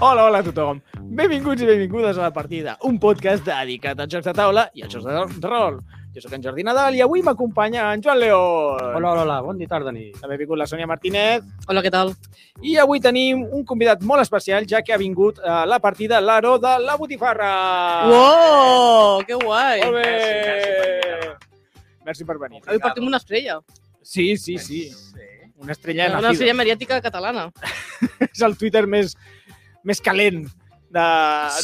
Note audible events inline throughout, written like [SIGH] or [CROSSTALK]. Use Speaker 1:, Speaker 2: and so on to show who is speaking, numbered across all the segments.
Speaker 1: Hola, hola a tothom. Benvinguts i benvingudes a La Partida, un podcast dedicat als jocs de taula i als jocs de rol. Jo sóc en Jordi Nadal i avui m'acompanya en Joan León.
Speaker 2: Hola, hola, hola, bon dia, tarda, nit.
Speaker 1: També ha vingut la Sònia Martínez
Speaker 3: Hola, què tal?
Speaker 1: i avui tenim un convidat molt especial ja que ha vingut a La Partida l'Aro de la Botifarra.
Speaker 3: Wow, que guai!
Speaker 1: Molt bé!
Speaker 2: Merci,
Speaker 1: Merci per venir.
Speaker 3: Avui partim una estrella,
Speaker 1: Sí, sí, sí. Una estrella en
Speaker 3: una
Speaker 1: la
Speaker 3: estrella
Speaker 1: vida.
Speaker 3: mediàtica catalana.
Speaker 1: És el Twitter més, més calent de,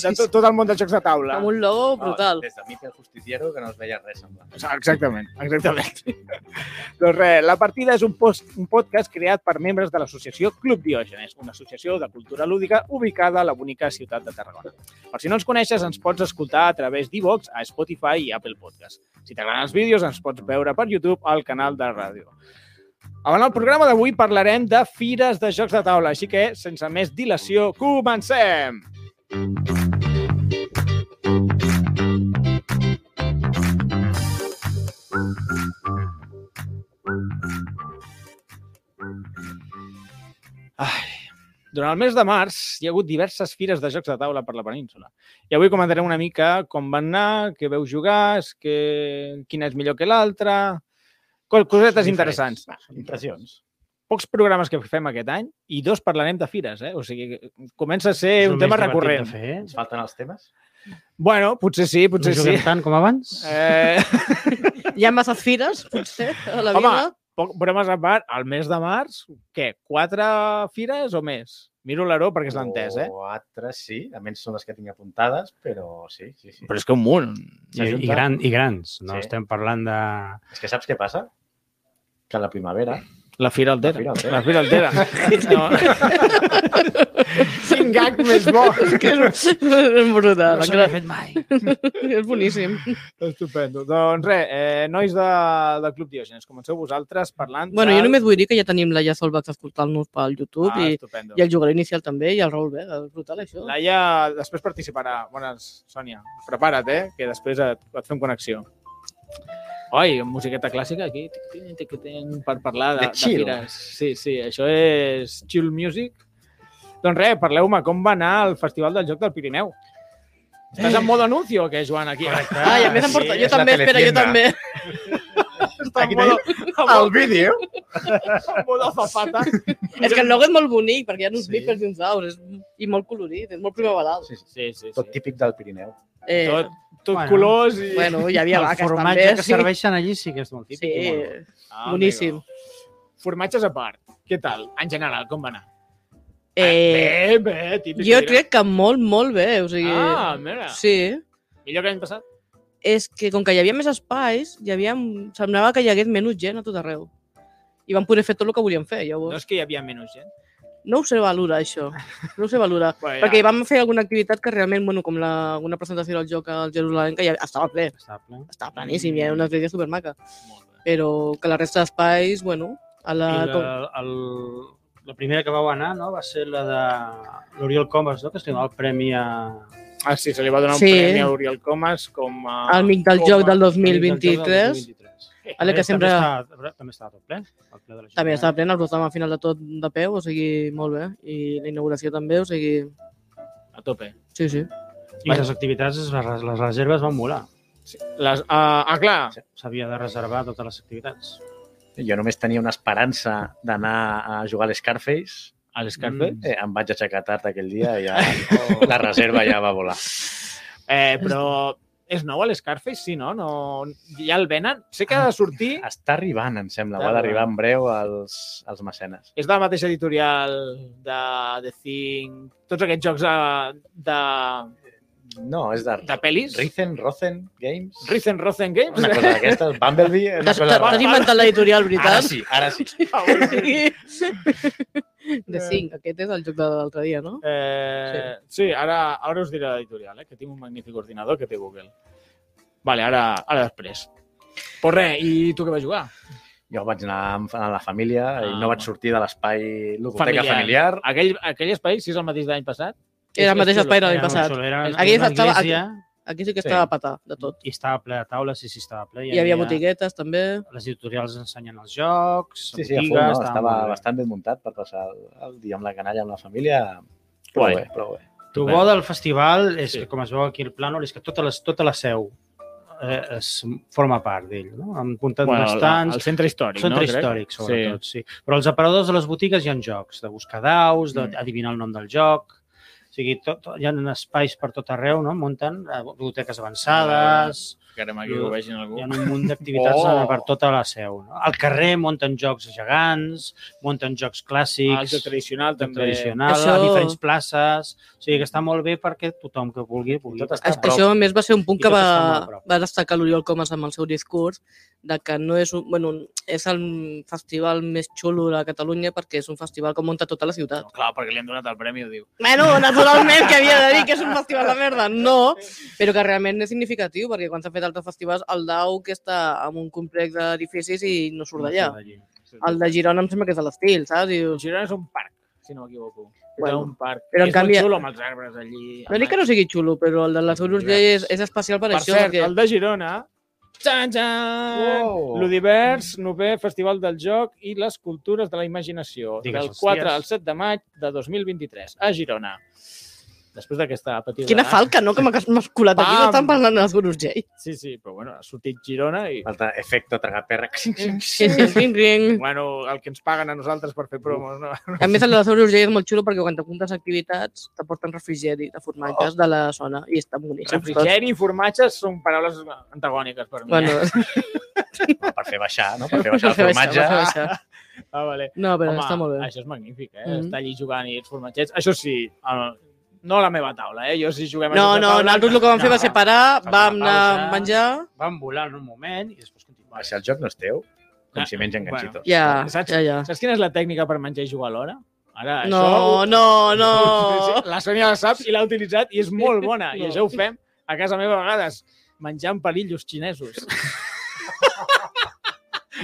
Speaker 1: de tot, tot el món dels jocs de taula.
Speaker 3: Amb un logo
Speaker 4: No,
Speaker 3: brutal.
Speaker 4: Des de Miquel Justiciero, que no es veia res semblant.
Speaker 1: O sigui, Exactament, exactament. doncs res, La Partida és un, post, un podcast creat per membres de l'associació Club Diògenes, una associació de cultura lúdica ubicada a la bonica ciutat de Tarragona. Per si no ens coneixes, ens pots escoltar a través d'Evox, a Spotify i Apple Podcast. Si t'agraden els vídeos, ens pots veure per YouTube al canal de ràdio. En el programa d'avui parlarem de fires de jocs de taula, així que, sense més dilació, comencem! Ai. Durant el mes de març hi ha hagut diverses fires de jocs de taula per la península. I avui comentarem una mica com van anar, què veu jugar, és que... quina és millor que l'altra... Co- Cosetes
Speaker 4: Són
Speaker 1: interessants.
Speaker 4: Impressions.
Speaker 3: Eh,
Speaker 1: Pocs programes que fem aquest any i dos parlarem de fires, eh? O sigui, que comença a ser
Speaker 2: És el
Speaker 1: un
Speaker 2: més
Speaker 1: tema
Speaker 2: divertit
Speaker 1: recorrent.
Speaker 2: de Fer, eh?
Speaker 4: Ens falten els temes?
Speaker 1: Bueno, potser sí,
Speaker 2: Potser
Speaker 1: potser
Speaker 2: no
Speaker 1: sí.
Speaker 2: juguem tant com
Speaker 1: [LAUGHS]
Speaker 2: abans.
Speaker 1: Eh,
Speaker 3: Hi ha masses fires, potser, a la
Speaker 1: Home.
Speaker 3: vida.
Speaker 1: poc, bromes a part, al mes de març, què, quatre fires o més? Miro l'Aró perquè és l'entès, eh?
Speaker 4: Quatre, sí. A menys són les que tinc apuntades, però sí, sí, sí.
Speaker 1: Però és que un munt.
Speaker 2: I, i, gran, I grans, no
Speaker 4: Sí.
Speaker 2: estem parlant de...
Speaker 4: És que saps què passa? Que a la primavera...
Speaker 1: La Fira Altera.
Speaker 4: La Fira
Speaker 1: La Fira Altera. No. [LAUGHS] Quin gag
Speaker 3: [LAUGHS]
Speaker 1: més bo.
Speaker 3: És que és, és [LAUGHS] brutal. encara-
Speaker 2: fet mai.
Speaker 3: [LAUGHS] És boníssim.
Speaker 1: Estupendo. Doncs res, eh, nois de, del Club Diògenes, comenceu vosaltres parlant...
Speaker 3: Bueno,
Speaker 1: del-
Speaker 3: jo només vull dir que ja tenim la Sol Bax escoltant-nos pel YouTube
Speaker 1: Ah,
Speaker 3: i,
Speaker 1: estupendo.
Speaker 3: i el jugador inicial també, i el Raül Vega. És brutal, això.
Speaker 1: Laia després participarà. Bones, Sònia. Prepara't, eh? Que després et, et fem connexió. Oi, amb musiqueta clàssica aquí, tic, tic, tic, tic, per parlar de,
Speaker 4: De chill.
Speaker 1: fires. Sí, sí, això és chill music. Doncs res, parleu-me, com va anar el Festival del Joc del Pirineu? Estàs en modo anuncio o què, Joan, aquí?
Speaker 3: Ah, i a més em porta...
Speaker 4: sí,
Speaker 3: jo
Speaker 4: és la
Speaker 3: també, espera, jo
Speaker 4: teletienda.
Speaker 3: també.
Speaker 1: Està en
Speaker 4: Aquí
Speaker 1: modo, en modo,
Speaker 4: El vídeo!
Speaker 1: en modo zapata.
Speaker 3: És que el logo és molt bonic, perquè hi ha uns
Speaker 4: Sí.
Speaker 3: bípers i uns aus, és... i molt colorit, és molt primaveral.
Speaker 4: Sí, sí.
Speaker 1: Sí, sí,
Speaker 4: Tot
Speaker 1: sí.
Speaker 4: típic del Pirineu.
Speaker 3: Eh,
Speaker 1: Tot, tot
Speaker 2: Bueno.
Speaker 1: colors i...
Speaker 3: Bueno, hi havia
Speaker 2: El
Speaker 3: vaques
Speaker 2: formatge
Speaker 3: també.
Speaker 2: que
Speaker 3: sí.
Speaker 2: serveixen allí sí que és molt típic.
Speaker 3: Sí,
Speaker 2: i molt bo.
Speaker 1: Ah,
Speaker 3: boníssim.
Speaker 1: amigo. Formatges a part, què tal? En general, com va anar? Ah, Bé,
Speaker 3: Eh,
Speaker 1: bé, típic.
Speaker 3: jo
Speaker 1: mira.
Speaker 3: crec que molt, molt bé. O sigui,
Speaker 1: Ah, mira.
Speaker 3: sí.
Speaker 1: Millor que l'any passat?
Speaker 3: És que com que hi havia més espais, hi havia, semblava que hi hagués menys gent a tot arreu. I vam poder fer tot el que volíem fer,
Speaker 1: No
Speaker 3: llavors.
Speaker 1: és que hi havia menys gent.
Speaker 3: No ho sé valorar, això. No ho sé valorar.
Speaker 1: Bueno,
Speaker 3: Perquè vam fer alguna activitat que realment, bueno, com la, una presentació del joc al Jerusalem, que ja estava ple,
Speaker 2: Està ple.
Speaker 3: estava planíssim, hi havia una església supermaca.
Speaker 1: Molt bé.
Speaker 3: Però que la resta d'espais, bueno, a la...
Speaker 2: I
Speaker 3: Ah, com-
Speaker 2: la, el, la primera que vau anar no? va ser la de l'Oriol Comas, no? que es donava el premi a...
Speaker 1: Ah, sí, se li va donar
Speaker 3: Sí.
Speaker 1: un premi a Oriel Comas com a...
Speaker 3: al mig del
Speaker 1: com
Speaker 3: joc
Speaker 1: a-
Speaker 3: del
Speaker 2: Del
Speaker 3: 2023.
Speaker 2: 2023.
Speaker 3: A la que sempre...
Speaker 2: També està, també està tot ple. El ple de la
Speaker 3: També
Speaker 2: Junta.
Speaker 3: estava plena, el programa al final de tot de peu, o sigui, molt bé. I la inauguració també, o sigui...
Speaker 1: A tope.
Speaker 3: Sí, sí.
Speaker 2: I les activitats, les, les reserves van volar.
Speaker 1: Sí. Les, ah, ah, clar.
Speaker 4: Sí.
Speaker 2: S'havia de reservar totes les activitats.
Speaker 4: Jo només tenia una esperança d'anar a jugar a l'Scarface.
Speaker 1: A l'Scarfe.
Speaker 2: Mm.
Speaker 4: Eh, em vaig aixecar tard aquell dia i [LAUGHS] ja, la reserva ja va volar.
Speaker 1: Eh, però és nou a l'Scarface? Sí, no? no? Ja el venen? Sé que ha de sortir...
Speaker 4: Està arribant, em sembla.
Speaker 1: Està
Speaker 4: Ho ha d'arribar
Speaker 1: arribant.
Speaker 4: en breu als, als mecenes.
Speaker 1: És de la mateixa editorial de The Thing... Tots aquests jocs de, de,
Speaker 4: No, és de...
Speaker 1: de pel·lis.
Speaker 4: Rizen, Rozen Games.
Speaker 1: Rizen Rozen Games.
Speaker 4: Una cosa d'aquestes. Bumblebee. Una
Speaker 3: T'has
Speaker 4: cosa rara.
Speaker 3: t'has inventat l'editorial,
Speaker 4: Ara
Speaker 3: [LAUGHS] veritat?
Speaker 4: sí, ara sí.
Speaker 3: De 5, aquest és el joc de l'altre dia, no?
Speaker 1: Eh, sí, ara, ara us diré l'editorial, eh, que tinc un magnífic ordinador que té Google. Vale, ara, ara després. Pues res, i tu què vas jugar?
Speaker 4: Jo vaig anar amb, a la família i
Speaker 1: Ah,
Speaker 4: no vaig
Speaker 1: bueno.
Speaker 4: sortir de l'espai logoteca familiar. Ah,
Speaker 1: Aquell, aquell espai, si és el mateix de l'any passat?
Speaker 3: Era el mateix espai de l'any
Speaker 2: Era
Speaker 3: passat.
Speaker 2: molt xulo, Era
Speaker 3: Aquí
Speaker 2: una
Speaker 3: estava-
Speaker 2: església
Speaker 3: Aquí sí que
Speaker 4: Sí.
Speaker 3: estava a patar de tot.
Speaker 2: i estava ple de taules, sí, sí, estava ple.
Speaker 3: Hi havia botiguetes, també.
Speaker 2: Les editorials ensenyen els jocs,
Speaker 4: Sí, sí, a
Speaker 2: botigues...
Speaker 4: fons, no?
Speaker 2: estava
Speaker 4: estava
Speaker 2: molt bé.
Speaker 4: bastant ben muntat per passar el, el dia amb la canalla, amb la família. Prou
Speaker 5: Guai.
Speaker 4: bé, prou bé.
Speaker 2: El bo del festival és
Speaker 5: Sí.
Speaker 2: sí. que, com es veu aquí al plànol, és que tota, les, tota la seu eh, es forma part d'ell, no? Han muntat bueno,
Speaker 5: el,
Speaker 2: estants,
Speaker 5: el centre històric,
Speaker 2: centre
Speaker 5: no?
Speaker 1: eh?
Speaker 5: Crec.
Speaker 2: històric, sobretot, sí. sí. Però els aparadors de les botigues hi ha jocs, de buscar daus,
Speaker 5: Mm.
Speaker 2: d'adivinar el nom del joc, o sigui, tot, tot- hi ha espais per tot arreu, no? Munten eh, biblioteques avançades,
Speaker 5: Que ara m'agrada que ho vegin algú.
Speaker 2: hi
Speaker 1: Ah,
Speaker 2: ha un munt d'activitats
Speaker 5: Oh!
Speaker 2: oh. per tota la seu. No? Al carrer munten jocs gegants, munten
Speaker 1: Ah,
Speaker 2: jocs
Speaker 1: el
Speaker 2: clàssics,
Speaker 1: joc tradicional també.
Speaker 2: tradicional, Això... a
Speaker 3: Això-
Speaker 2: diferents places. O sigui, que està molt bé perquè tothom que vulgui pugui estar
Speaker 3: Això,
Speaker 2: a prop.
Speaker 3: això, a més, va ser un punt
Speaker 2: I
Speaker 3: que
Speaker 2: tot
Speaker 3: va,
Speaker 2: està molt a prop.
Speaker 3: va destacar l'Oriol Comas amb el seu discurs, de que no és, un, bueno, és el festival més xulo de Catalunya perquè és un festival que munta tota la ciutat.
Speaker 5: No, clar, perquè li han donat el premi, ho diu.
Speaker 3: Bueno, naturalment que havia de dir que és un festival de merda, no, però que realment és significatiu, perquè quan s'ha fet altres festivals, el DAU que està en un complex d'edificis i no surt d'allà. El de Girona em sembla que és de l'estil, saps?
Speaker 1: El
Speaker 3: Dius,
Speaker 1: Girona és un parc, si no m'equivoco. Bueno,
Speaker 3: Bueno,
Speaker 1: un parc.
Speaker 3: però
Speaker 1: I
Speaker 3: en
Speaker 1: és
Speaker 3: canvi-
Speaker 1: molt xulo amb els arbres allí.
Speaker 3: no dic que no sigui xulo, però el de les Urgell és, és especial per,
Speaker 1: Per
Speaker 3: això.
Speaker 1: cert,
Speaker 3: perquè...
Speaker 1: el de Girona... Txan, txan!
Speaker 4: Wow.
Speaker 1: Ludivers, novè Festival del Joc i les Cultures de la Imaginació,
Speaker 2: Digues,
Speaker 1: del 4
Speaker 2: hòsties.
Speaker 1: al 7 de maig de 2023, a Girona. Després d'aquesta petita...
Speaker 3: Quina falca, no? Que m'ha m'has colat aquí,
Speaker 1: Pam!
Speaker 3: no estan parlant de les Urgell.
Speaker 1: Sí, sí, però bueno, ha sortit Girona
Speaker 2: Ah.
Speaker 1: i...
Speaker 4: Falta efecte tragaperra.
Speaker 3: [LAUGHS] Sí, sí, sí, sí.
Speaker 1: Bueno, el que ens paguen a nosaltres per fer promos, no?
Speaker 3: A més, el de les Urgell és molt xulo perquè quan t'apuntes a activitats t'aporten refrigeri de formatges de la zona i està bonic. saps?
Speaker 1: Refrigeri i formatges són paraules antagòniques per mi.
Speaker 3: Bueno,
Speaker 1: eh?
Speaker 4: per fer baixar,
Speaker 3: [LAUGHS]
Speaker 4: no? Per
Speaker 3: per fer
Speaker 4: fer baixar [LAUGHS] el
Speaker 3: baixar,
Speaker 4: formatge.
Speaker 3: per fer baixar.
Speaker 1: Ah, vale.
Speaker 3: No, però està molt bé.
Speaker 1: Això és magnífic, eh?
Speaker 3: Mhm.
Speaker 1: Estar allí jugant i els formatgets. Això sí, el... no a la meva taula, eh? Jo si juguem a
Speaker 3: No,
Speaker 1: la
Speaker 3: no,
Speaker 1: taula...
Speaker 3: nosaltres el que vam fer va ser parar,
Speaker 2: Fas
Speaker 3: vam
Speaker 2: una
Speaker 3: anar a
Speaker 2: pausa.
Speaker 3: menjar...
Speaker 2: Van volar en un moment i després continuar.
Speaker 4: Baixar el joc no és teu, com si mengen
Speaker 1: Bueno.
Speaker 4: ganxitos.
Speaker 3: Ja,
Speaker 1: Saps?
Speaker 3: ja, ja.
Speaker 1: Saps quina és la tècnica per menjar i jugar alhora? Ara,
Speaker 3: No,
Speaker 1: això...
Speaker 3: no, no.
Speaker 1: [LAUGHS] La Sònia la sap i l'ha utilitzat i és molt bona. I
Speaker 3: No.
Speaker 1: això ho fem a casa meva a vegades, menjant perillos xinesos.
Speaker 3: [LAUGHS]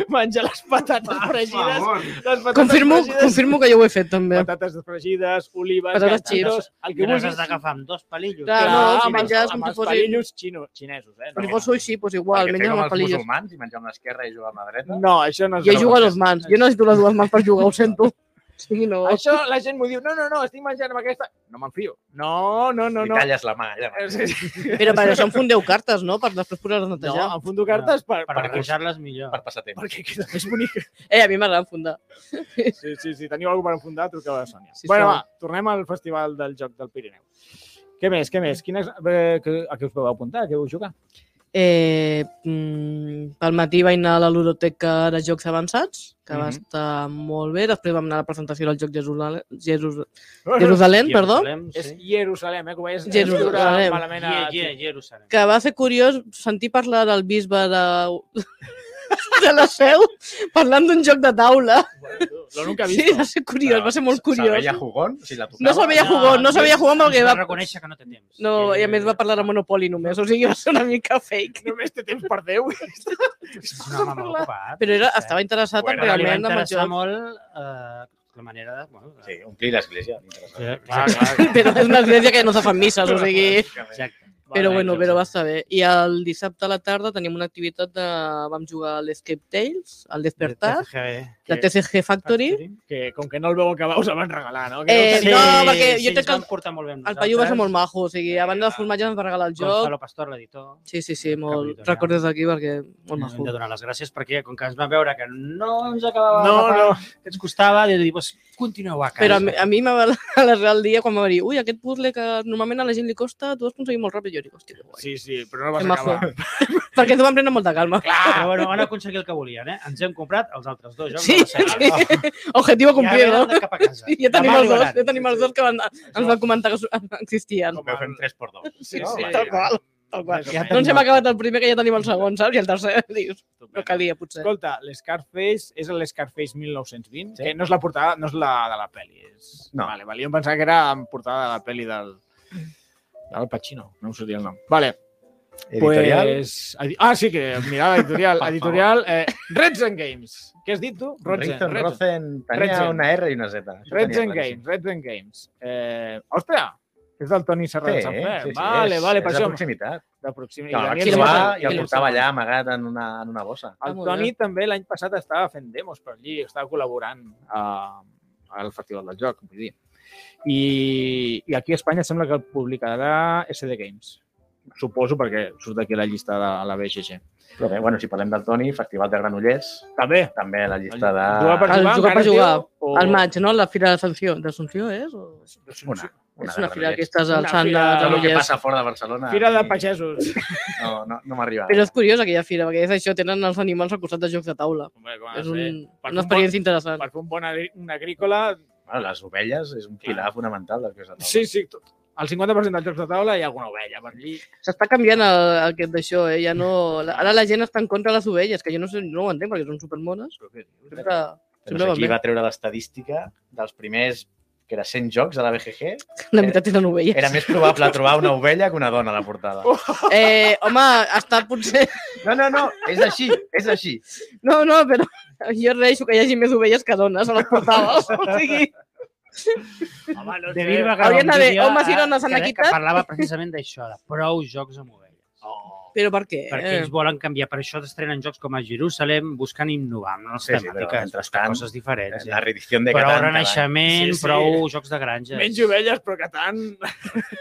Speaker 1: menjar les patates fregides. Les patates
Speaker 3: Confirmo,
Speaker 1: fregides,
Speaker 3: confirmo que jo ho he fet, també.
Speaker 1: Patates fregides, olives,
Speaker 3: Patates
Speaker 1: ganxitos, el que
Speaker 2: Que
Speaker 1: vulguis.
Speaker 2: has d'agafar amb dos palillos.
Speaker 3: Clar,
Speaker 1: Clar,
Speaker 3: no, si
Speaker 1: amb, els,
Speaker 3: menges
Speaker 1: amb
Speaker 3: com si
Speaker 1: els
Speaker 3: fossin-
Speaker 1: palillos xino, xinesos, eh?
Speaker 3: Si fos sushi, doncs igual,
Speaker 4: Perquè fer
Speaker 3: menja
Speaker 4: com
Speaker 3: amb
Speaker 4: els
Speaker 3: palillos.
Speaker 4: musulmans i menjar amb l'esquerra i jugar amb la dreta.
Speaker 1: No, això no és...
Speaker 3: Jo
Speaker 1: una
Speaker 3: jugo a
Speaker 1: cosa.
Speaker 3: les mans. Jo necessito les dues mans per jugar, ho sento. Sí, no.
Speaker 1: Això la gent m'ho diu, no, no, no, estic menjant amb aquesta... No me'n fio. No, no, no,
Speaker 4: Li
Speaker 1: no.
Speaker 4: talles la mà. allà.
Speaker 1: Sí, sí.
Speaker 3: Però per això enfondeu cartes, no? Per després posar-les a
Speaker 1: No,
Speaker 3: netejar.
Speaker 1: em fundo cartes per,
Speaker 2: Per arranjar-les millor.
Speaker 4: Per passar temps.
Speaker 1: perquè queda més bonic.
Speaker 3: Eh, a mi m'agrada enfondar.
Speaker 1: [LAUGHS] Sí, sí, sí, teniu alguna cosa per enfundar, truqueu a la Sònia. Sí,
Speaker 3: Sí,
Speaker 1: bueno,
Speaker 3: sí.
Speaker 1: va, tornem al Festival del Joc del Pirineu. Què més, què més? Quines, eh, que- a què us vau apuntar? A què vau jugar?
Speaker 3: Eh, mm, pel matí vaig anar a la ludoteca de Jocs Avançats, que va
Speaker 1: Mhm.
Speaker 3: estar molt bé. Després vam anar a la presentació del Joc Jerusalem, Jerus, Jerusalem perdó,
Speaker 2: Jerusalem,
Speaker 1: [LAUGHS] És
Speaker 2: Sí.
Speaker 1: Jerusalem, eh, que ho veies
Speaker 3: Jerusalem.
Speaker 1: escriure malament.
Speaker 2: Yeah,
Speaker 1: A...
Speaker 2: yeah, Jerusalem.
Speaker 3: que va ser curiós sentir parlar del bisbe de, [LAUGHS] de la seu parlant d'un joc de taula.
Speaker 1: Lo nunca he vist.
Speaker 3: Sí, va ser curiós, va ser molt
Speaker 4: Se la
Speaker 3: curiós.
Speaker 4: veia jugón, si la tocava.
Speaker 3: No se'l veia jugar, no se'l veia jugar perquè
Speaker 2: va...
Speaker 3: va...
Speaker 2: reconèixer que no té temps.
Speaker 3: No, i a més va parlar de Monopoly només, o sigui, va ser una mica fake.
Speaker 1: [LAUGHS] Només té temps per Déu.
Speaker 2: És un home molt ocupat.
Speaker 3: Però era, estava interessat en
Speaker 4: Bueno,
Speaker 2: Però li va
Speaker 3: realment amb el
Speaker 2: interessar
Speaker 3: joc.
Speaker 2: molt eh, la manera de... Bueno, de-
Speaker 4: Sí, omplir l'església. l'interessant.
Speaker 2: Clar,
Speaker 1: [LAUGHS] Clar,
Speaker 2: clar.
Speaker 1: clar.
Speaker 3: Però és una església que no se fan misses, o sigui...
Speaker 2: Exacte.
Speaker 3: Però
Speaker 1: Vale,
Speaker 3: bueno,
Speaker 1: doncs,
Speaker 3: però va estar bé. I el dissabte a la tarda tenim una activitat de... Vam jugar a l'Escape Tales, al despertar, la TCG Factory.
Speaker 1: Ah, Que com que no el veu acabar, us el van regalar, no? Que
Speaker 3: Eh,
Speaker 1: no
Speaker 3: no, perquè jo crec que el-
Speaker 2: portar molt bé amb
Speaker 3: El paio va ser molt
Speaker 2: mal.
Speaker 3: majo, o sigui, a banda dels formatges ens va regalar el joc.
Speaker 2: Gonzalo Pastor, l'editor,
Speaker 3: Sí, sí, sí,
Speaker 2: Cap
Speaker 3: molt...
Speaker 2: editorial.
Speaker 3: Recordes d'aquí perquè molt
Speaker 2: hem
Speaker 3: majo.
Speaker 2: de donar les gràcies perquè, com que ens van veure que no ens acabava
Speaker 1: No,
Speaker 2: la part que ens costava, de dir, pues, continueu a casa.
Speaker 3: Però a mi, a mi m'ha a [LAUGHS] la real dia quan va dir ui, aquest puzzle que normalment a la gent li costa, tu has aconseguit molt ràpid. Jo dic, hòstia, que guai.
Speaker 1: Sí, Eh, sí, però no vas
Speaker 3: Que majo.
Speaker 1: acabar. [LAUGHS]
Speaker 3: Perquè t'ho van prendre amb molta calma.
Speaker 2: Però bueno, han aconseguit el que volien, eh? Ens hem comprat els altres dos jocs.
Speaker 3: Sí,
Speaker 2: de la saga.
Speaker 3: sí. [LAUGHS] Objectiu a complir,
Speaker 2: I ara
Speaker 3: no?
Speaker 2: anem cap a casa.
Speaker 3: Sí, ja tenim
Speaker 2: Demà
Speaker 3: els dos,
Speaker 2: arribaran.
Speaker 3: ja tenim els dos que van, ens van comentar que su- [LAUGHS] existien.
Speaker 4: Com fem 3x2.
Speaker 1: Sí,
Speaker 2: No,
Speaker 1: sí.
Speaker 3: Tal qual, tal qual.
Speaker 1: Ja
Speaker 3: No ens hem acabat el primer, que ja tenim el segon, saps? I el tercer, [LAUGHS] dius, no calia, potser.
Speaker 1: Escolta, l'Scarface és l'Scarface 1920, sí.
Speaker 4: Sí.
Speaker 1: que no és la portada, no és la de la pel·li. És...
Speaker 4: No.
Speaker 1: Vale, vale, jo em pensava que era en portada de la pel·li del... Del Pacino, no em sortia el nom. Vale,
Speaker 4: Editorial.
Speaker 1: Pues... edi- Ah, sí que mirava editorial.
Speaker 4: [LAUGHS] Per favor.
Speaker 1: editorial eh, Reds and Games. Què has dit tu? Reds and-
Speaker 4: Rotzen,
Speaker 1: Reds and-
Speaker 4: Rotzen, tenia
Speaker 1: Rotzen.
Speaker 4: una R i una Z. Això ho
Speaker 1: Reds
Speaker 4: tenia
Speaker 1: and
Speaker 4: claríssim.
Speaker 1: Games. Reds and Games. Eh, ostres, és del Toni Serrat
Speaker 4: Sí,
Speaker 1: Samper.
Speaker 4: sí, sí,
Speaker 1: vale,
Speaker 4: és,
Speaker 1: vale,
Speaker 4: és
Speaker 1: per
Speaker 4: de
Speaker 1: això.
Speaker 4: proximitat.
Speaker 1: De proximitat.
Speaker 4: No,
Speaker 1: I Daniel
Speaker 3: sí,
Speaker 4: l'actuar
Speaker 1: Serrat.
Speaker 4: i el
Speaker 3: sí,
Speaker 4: portava
Speaker 3: sí.
Speaker 4: allà amagat en una, en una bossa.
Speaker 1: El
Speaker 3: Ah, molt
Speaker 1: Toni
Speaker 3: bé.
Speaker 1: també l'any passat estava fent demos per allí, estava col·laborant eh, al Festival del Joc, vull dir. I, I aquí a Espanya sembla que el publicarà SD Games. Suposo perquè surt aquí a la llista de la BGG.
Speaker 4: Però bé, bueno, si parlem del Toni, Festival de Granollers,
Speaker 1: També.
Speaker 4: també la llista de...
Speaker 1: Jugar per
Speaker 3: El
Speaker 1: jugar.
Speaker 3: Ah, jugar per
Speaker 1: encara es
Speaker 3: jugar.
Speaker 1: diu, o-
Speaker 3: Al maig, no? La fira d'Ascensió. D'Ascensió és? O...
Speaker 4: Una, una
Speaker 3: és una fira
Speaker 4: de Granollers.
Speaker 3: que estàs al
Speaker 1: Una
Speaker 3: Sant de
Speaker 1: fira-
Speaker 4: Tot el que
Speaker 3: Granollers.
Speaker 4: passa fora de Barcelona...
Speaker 1: Fira
Speaker 4: a
Speaker 1: de
Speaker 4: mi [LAUGHS]
Speaker 1: pagesos.
Speaker 4: No, no, no m'arriba.
Speaker 3: Però és curiós aquella fira, perquè és això, tenen els animals al costat de jocs de taula.
Speaker 5: Hombre, com ha de
Speaker 3: és
Speaker 5: ser?
Speaker 3: un,
Speaker 1: Per
Speaker 3: una
Speaker 1: un
Speaker 3: experiència interessant.
Speaker 1: Per fer un bon agrí- un agrícola,
Speaker 4: Bueno, les ovelles és un pilar fonamental del que és la taula.
Speaker 1: sí, sí, tot. el 50% dels jocs de taula hi ha alguna ovella per allí.
Speaker 3: S'està canviant el, aquest d'això, eh? Ja no... la- Ara la gent està en contra de les ovelles, que jo no, sé, no ho entenc, perquè són supermones. Sempre...
Speaker 4: Però
Speaker 3: Sembla
Speaker 4: no sé qui
Speaker 3: bé.
Speaker 4: va treure l'estadística dels primers que era 100 jocs a la BGG,
Speaker 3: La meitat tenen ovelles.
Speaker 4: era més probable trobar una ovella que una dona a la portada.
Speaker 3: Eh, home, ha estat potser...
Speaker 4: No, no, no, és així, és així.
Speaker 3: No, no, però jo reixo que hi hagi més ovelles que dones a les portades. O sigui,
Speaker 1: Home, no
Speaker 2: De
Speaker 1: sé.
Speaker 2: Birba
Speaker 3: Hauria d'haver homes i dones en equitat.
Speaker 2: Que parlava precisament d'això, de prou jocs amb ovelles.
Speaker 1: Oh.
Speaker 3: però per què?
Speaker 2: Perquè ells volen canviar. Per això estrenen jocs com a Jerusalem, buscant innovar amb les
Speaker 4: Sí,
Speaker 2: sí,
Speaker 4: sí, però,
Speaker 2: temàtiques,
Speaker 4: mentrestant,
Speaker 2: coses diferents.
Speaker 4: La
Speaker 2: Eh?
Speaker 4: redició de
Speaker 2: Prou
Speaker 4: Catán.
Speaker 2: renaixement,
Speaker 1: Sí, sí.
Speaker 2: prou jocs de granja.
Speaker 1: Menys ovelles, però que tant... [LAUGHS]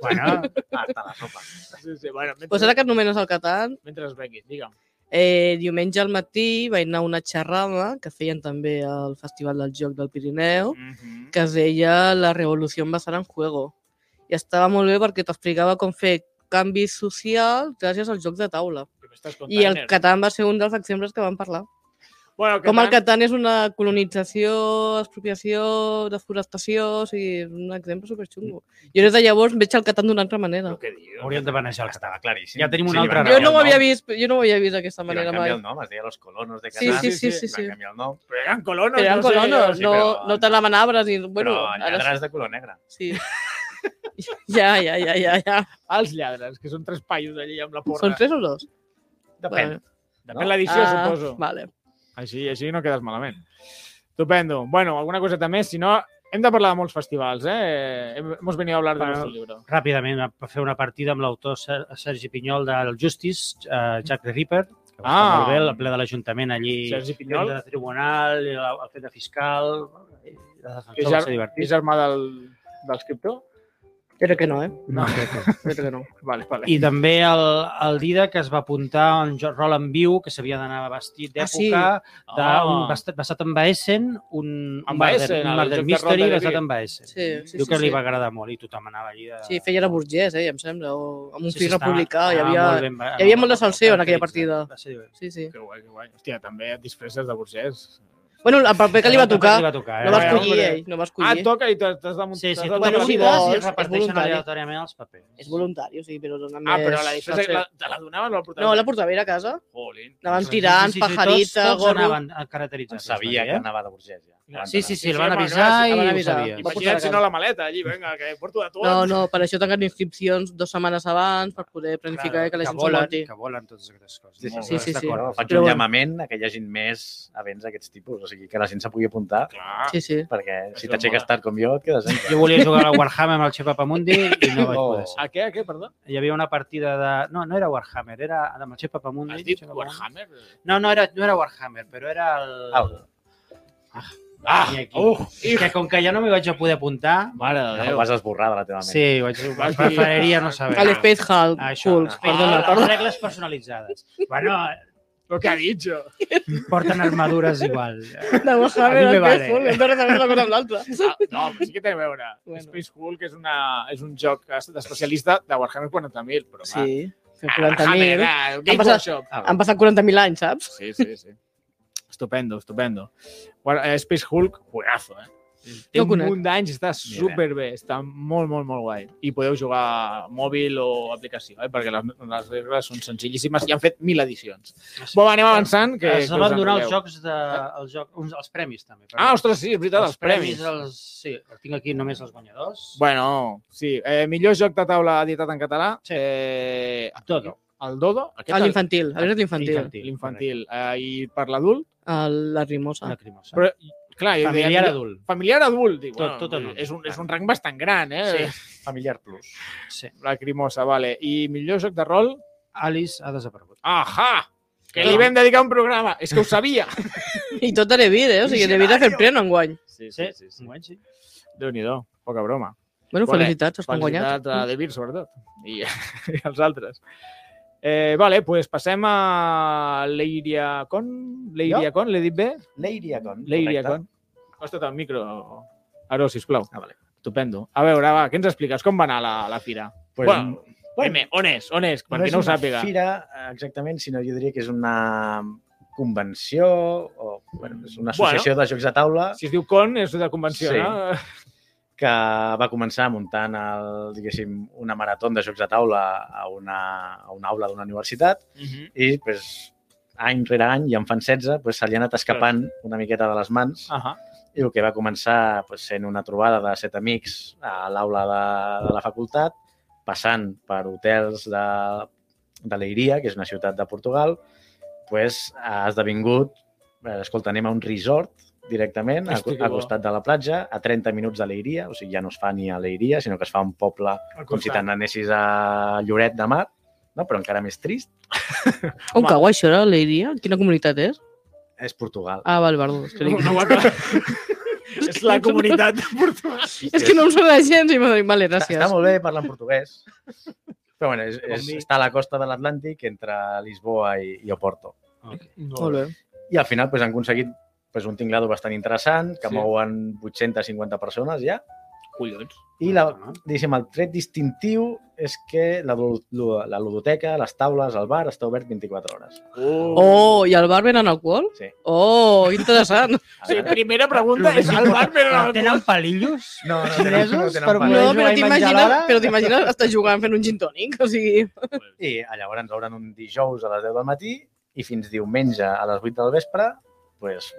Speaker 2: Bueno,
Speaker 4: Hasta Ah, la sopa.
Speaker 1: Sí, sí, bueno, mentre,
Speaker 3: Doncs ara que et nomenes el Catan,
Speaker 1: mentre es vengui, digue'm.
Speaker 3: Eh, diumenge al matí vaig anar a una xerrada que feien també al Festival del Joc del Pirineu,
Speaker 5: Mhm.
Speaker 3: que es deia La revolució basada en juego. I estava molt bé perquè t'explicava com fer canvis socials gràcies al joc de taula.
Speaker 1: Que m'estàs contant,
Speaker 3: I el
Speaker 1: nen.
Speaker 3: Catan va ser un dels exemples que van parlar.
Speaker 1: Bueno,
Speaker 3: Com el
Speaker 1: Catan-
Speaker 3: Catan és una colonització, expropiació, desforestació, o sigui, és un exemple superxungo.
Speaker 4: Mm.
Speaker 3: Jo des de llavors veig el Catan d'una altra manera.
Speaker 1: Però què dius?
Speaker 2: hauríem de manejar el
Speaker 4: Estava
Speaker 2: tabac.
Speaker 4: claríssim.
Speaker 2: Ja tenim un
Speaker 4: li van
Speaker 2: altre
Speaker 4: canviar
Speaker 3: Jo no
Speaker 4: el
Speaker 3: ho havia
Speaker 4: nom.
Speaker 3: vist, jo no ho havia vist d'aquesta
Speaker 4: Li van
Speaker 3: manera
Speaker 4: canviar
Speaker 3: mai.
Speaker 4: el nom, es deia Los Colonos de
Speaker 3: Sí,
Speaker 4: Catán.
Speaker 3: sí,
Speaker 1: sí,
Speaker 4: li
Speaker 3: sí,
Speaker 4: van
Speaker 3: sí.
Speaker 4: canviar el nom,
Speaker 1: Però eren colonos.
Speaker 3: Eren
Speaker 1: no sé,
Speaker 3: colonos,
Speaker 4: sí,
Speaker 3: no,
Speaker 4: però-
Speaker 3: no te l'amenaves. I, bueno,
Speaker 4: però
Speaker 3: ara
Speaker 4: lladres de color negre.
Speaker 3: sí. [LAUGHS] Ja, ja, ja, ja, ja.
Speaker 1: Els lladres, que són tres paios allí amb la porra.
Speaker 3: Són tres o dos?
Speaker 4: Depèn.
Speaker 1: Depèn l'edició,
Speaker 3: Ah,
Speaker 1: suposo.
Speaker 3: Vale.
Speaker 1: Així, així no quedes malament. Estupendo. Bueno, alguna coseta més? Si no, hem de parlar de molts festivals, eh? Hem- Hemos venido a hablar de
Speaker 2: Bueno.
Speaker 1: nuestro libro.
Speaker 2: Ràpidament, va fer una partida amb l'autor Ser- Sergi Pinyol del Justice, eh, Jack the Ripper, que va estar
Speaker 1: Ah.
Speaker 2: molt bé, el ple de l'Ajuntament allí,
Speaker 1: Sergi
Speaker 2: el fet
Speaker 1: Pinyol
Speaker 2: de tribunal, i la- el fet de fiscal, i de
Speaker 1: És
Speaker 2: defensor, va
Speaker 1: ar-
Speaker 2: ser divertit.
Speaker 1: és germà del, del escriptor?
Speaker 3: Jo crec que no, eh?
Speaker 2: No, crec que no.
Speaker 3: Jo crec que no.
Speaker 1: Vale, vale.
Speaker 2: I també el, el Dida, que es va apuntar a un jo- rol en viu, que s'havia d'anar vestit
Speaker 3: Ah, sí.
Speaker 2: d'època, ah,
Speaker 1: Ah.
Speaker 2: un, bastat, bastat en Baessen, un,
Speaker 1: En
Speaker 2: un
Speaker 1: Baessen, el
Speaker 2: murder- un
Speaker 1: joc
Speaker 2: murder
Speaker 1: de
Speaker 2: mystery
Speaker 1: rol de
Speaker 2: basat
Speaker 1: David.
Speaker 2: en Baessen.
Speaker 3: Sí, sí,
Speaker 2: Diu
Speaker 3: sí,
Speaker 2: que li
Speaker 3: sí.
Speaker 2: va agradar molt i tothom anava allí de...
Speaker 3: Sí, feia de burgès, eh, em sembla, o amb un sí, sí,
Speaker 2: estava-
Speaker 3: republicà. Hi
Speaker 2: Ah,
Speaker 3: havia...
Speaker 2: molt ben, va-
Speaker 3: hi havia molt de
Speaker 2: va- va-
Speaker 3: salseo en aquella
Speaker 2: caracteritzat.
Speaker 3: partida.
Speaker 2: Va ser divertit.
Speaker 3: Sí, sí.
Speaker 1: Que guai, que guai. Hòstia, també et disfresses de burgès.
Speaker 3: Bueno, el paper que li va tocar,
Speaker 2: Li va tocar eh?
Speaker 3: no va
Speaker 1: vas
Speaker 3: escollir
Speaker 1: Hombre.
Speaker 3: ell, no
Speaker 1: Ah,
Speaker 3: va escollir.
Speaker 1: toca i t'has t'has de
Speaker 2: Sí, sí,
Speaker 1: t'has
Speaker 2: tu
Speaker 1: de-
Speaker 3: Bueno,
Speaker 2: bueno,
Speaker 3: si
Speaker 2: si
Speaker 3: vols,
Speaker 2: i
Speaker 3: és
Speaker 2: es reparteixen
Speaker 3: voluntari.
Speaker 2: aleatòriament els papers.
Speaker 3: És voluntari, o sigui, però dona més...
Speaker 1: Ah, però la disfressa
Speaker 3: satisfacció.
Speaker 1: la, te la donaven o la portaven?
Speaker 3: No, la portava a veure a casa.
Speaker 1: Jolín.
Speaker 3: Anaven tirant, pajarita,
Speaker 2: tots, tots
Speaker 3: gorro...
Speaker 2: anaven caracteritzats.
Speaker 4: Sabia que anava de Burgès. Ja.
Speaker 2: eh? Sí, sí, sí, el
Speaker 1: Sí,
Speaker 2: van
Speaker 1: home,
Speaker 2: avisar
Speaker 1: clar,
Speaker 2: i
Speaker 1: sí, el van
Speaker 2: ho
Speaker 3: avisar.
Speaker 2: sabia.
Speaker 3: Va portar la
Speaker 1: Imagina't si no la maleta allí, vinga, que porto de tot.
Speaker 3: No, no, per això tanquen inscripcions dues setmanes abans per poder planificar que la gent s'ho
Speaker 2: volen,
Speaker 3: voti.
Speaker 2: Que volen totes aquestes coses.
Speaker 4: Sí, sí,
Speaker 2: Molt
Speaker 3: sí,
Speaker 2: bé,
Speaker 3: sí, sí.
Speaker 2: d'acord.
Speaker 4: Bueno, faig
Speaker 3: Però
Speaker 4: un
Speaker 3: bueno.
Speaker 4: llamament a que hi hagin més events d'aquests tipus, o sigui, que la gent se pugui apuntar,
Speaker 1: Clar.
Speaker 3: Sí, sí.
Speaker 4: perquè si
Speaker 1: Això
Speaker 4: t'aixeques
Speaker 1: mola.
Speaker 4: tard com jo, et quedes en
Speaker 2: Jo volia jugar a Warhammer amb el Xep Apamundi i no vaig
Speaker 4: Oh.
Speaker 2: poder ser.
Speaker 1: A què, a què, perdó?
Speaker 2: Hi havia una partida de... No, no era Warhammer, era amb el Xep Apamundi.
Speaker 1: Has dit
Speaker 2: Xep Apamundi.
Speaker 1: Warhammer?
Speaker 2: No, no era, no era Warhammer, però era el...
Speaker 4: Algo.
Speaker 1: Ah,
Speaker 2: I aquí.
Speaker 1: uh,
Speaker 2: És que com que ja no m'hi vaig a poder apuntar,
Speaker 1: mare de
Speaker 4: Ho
Speaker 1: Déu.
Speaker 4: vas esborrar de la teva ment.
Speaker 2: sí, vaig, preferiria no saber.
Speaker 3: A l'Space Hulk,
Speaker 2: Això, Ah,
Speaker 3: Hulk, perdona,
Speaker 2: les
Speaker 3: perdona.
Speaker 2: regles personalitzades. Bueno,
Speaker 1: Però què ha dit jo?
Speaker 2: porten armadures igual.
Speaker 3: De
Speaker 2: A
Speaker 3: Warhammer,
Speaker 2: mi me
Speaker 3: el
Speaker 2: vale.
Speaker 3: Space Hulk, hem de reservar una cosa amb l'altra.
Speaker 1: Ah, no, però sí que té a veure.
Speaker 3: Bueno.
Speaker 1: Space Hulk és, una, és un joc d'especialista de Warhammer 40.000, però va.
Speaker 3: Sí,
Speaker 1: Ah,
Speaker 3: 40.000.
Speaker 1: Warhammer, ah,
Speaker 3: Han
Speaker 1: Game
Speaker 3: passat-
Speaker 1: Workshop.
Speaker 3: Han passat 40.000 anys, saps?
Speaker 1: Sí, sí, sí. estupendo, estupendo. Bueno, eh, Space Hulk, juegazo, eh? Té
Speaker 3: No
Speaker 1: un
Speaker 3: conec.
Speaker 1: munt d'anys, està superbé, està molt, molt, molt guai. I podeu jugar a mòbil o aplicació, eh? perquè les, les regles són senzillíssimes i han fet mil edicions. Bon, anem avançant. Que,
Speaker 2: Que, es
Speaker 1: que us
Speaker 2: van donar
Speaker 1: enrotlleu.
Speaker 2: els jocs de, els, joc, uns, els premis, també. perdó.
Speaker 1: Ah, ostres, sí, és veritat, els, premis.
Speaker 2: Els, sí, els tinc aquí només els guanyadors.
Speaker 1: Bueno, sí. Eh, millor joc de taula editat en català.
Speaker 2: Sí.
Speaker 1: Eh,
Speaker 2: Dodo.
Speaker 1: El Dodo.
Speaker 3: A l'infantil, a veure l'infantil.
Speaker 1: L'infantil. Eh, I per l'adult.
Speaker 3: El- La rimosa.
Speaker 2: Una crimosa.
Speaker 1: Però, clar, jo deia
Speaker 2: Familiar
Speaker 1: millor-
Speaker 2: adult.
Speaker 1: Familiar adult, dic,
Speaker 2: Tot- tot en un.
Speaker 1: és, un, és un rang bastant gran, eh? Ah. Sí.
Speaker 4: Familiar Plus.
Speaker 2: Sí.
Speaker 1: La crimosa, vale. I millor joc de rol?
Speaker 2: Alice ha desaparegut.
Speaker 1: Ahà! Que
Speaker 2: Clar.
Speaker 1: li vam dedicar un programa. És que ho sabia.
Speaker 3: I tot de Revir, eh? O sigui, Revir ha fet pleno enguany.
Speaker 1: [LAUGHS] Sí,
Speaker 2: Sí, sí, sí. sí.
Speaker 1: Déu-n'hi-do, poca broma.
Speaker 3: Bueno,
Speaker 1: Vale,
Speaker 3: felicitats, els que han Pues guanyat.
Speaker 1: Felicitat a David, sobretot, i, [LAUGHS] i als altres. Eh, vale, doncs pues passem a l'Eiria Con. L'Eiria Con, l'he dit bé?
Speaker 4: L'Eiriacon.
Speaker 1: L'Eiria
Speaker 4: correcte.
Speaker 1: Con. Acosta't al micro, Aro, sisplau.
Speaker 4: Ah, vale.
Speaker 1: Estupendo. A veure, va, què ens expliques? Com va anar la, la fira?
Speaker 4: Pues,
Speaker 1: Bueno, Primer, on és? On és? Per qui no ho
Speaker 4: és una
Speaker 1: sàpiga.
Speaker 4: fira, eh, exactament, sinó jo diria que és una convenció o bueno, és una associació de jocs de taula
Speaker 1: Si es diu Con, és de convenció,
Speaker 4: Sí.
Speaker 1: no?
Speaker 4: que va començar muntant el, diguéssim, una marató de jocs de taula a una, a una aula d'una universitat
Speaker 1: Mhm.
Speaker 4: i pues, any rere any, i en fan 16, pues, se li ha anat escapant una miqueta de les mans
Speaker 1: Ahà.
Speaker 4: i el que va començar pues, sent una trobada de set amics a l'aula de, de la facultat, passant per hotels de, de Leiria, que és una ciutat de Portugal, pues, ha esdevingut, eh, escolta, anem a un resort directament, a,
Speaker 1: Hosti, que
Speaker 4: a
Speaker 1: bo.
Speaker 4: costat de la platja, a 30 minuts de Leiria, o sigui, ja no es fa ni a Leiria, sinó que es fa a un poble com si te n'anessis a Lloret de Mar, no? però encara més trist,
Speaker 3: On cau això, ara, l'Eiria? Quina comunitat és?
Speaker 4: és Portugal.
Speaker 3: Ah, val, perdó. És que,
Speaker 1: No,
Speaker 3: dic-
Speaker 1: no ho [LAUGHS] acaba- és la comunitat de Portugal.
Speaker 3: és que no em sona gens i m'ha dit, vale,
Speaker 4: Està, està
Speaker 3: gràcies.
Speaker 4: molt bé parlar en portuguès. Però bueno, és, és,
Speaker 1: dir-
Speaker 4: està a la costa de l'Atlàntic entre Lisboa i, i Oporto.
Speaker 1: Eh,
Speaker 3: Molt bé.
Speaker 4: I al final pues, han aconseguit pues, un tinglado bastant interessant, que
Speaker 1: Sí.
Speaker 4: sí. mouen 850 persones ja.
Speaker 1: Collons.
Speaker 4: I la, diguéssim, el tret distintiu és que la, lu- lu- la ludoteca, les taules, el bar està obert 24 hores.
Speaker 3: Oh, i al bar venen alcohol?
Speaker 4: Sí.
Speaker 3: Oh, interessant.
Speaker 1: O sigui, primera pregunta és el bar, però... no-
Speaker 2: Tenen palillos?
Speaker 4: No, no,
Speaker 2: Xinesos per
Speaker 4: bar.
Speaker 2: voler
Speaker 3: No, però
Speaker 2: jugar i menjar
Speaker 3: t'imagines,
Speaker 2: l'hora?
Speaker 3: però t'imagines estar jugant fent un gin tònic, o sigui...
Speaker 4: I llavors ens obren un dijous a les 10 del matí i fins diumenge a les 8 del vespre, pues,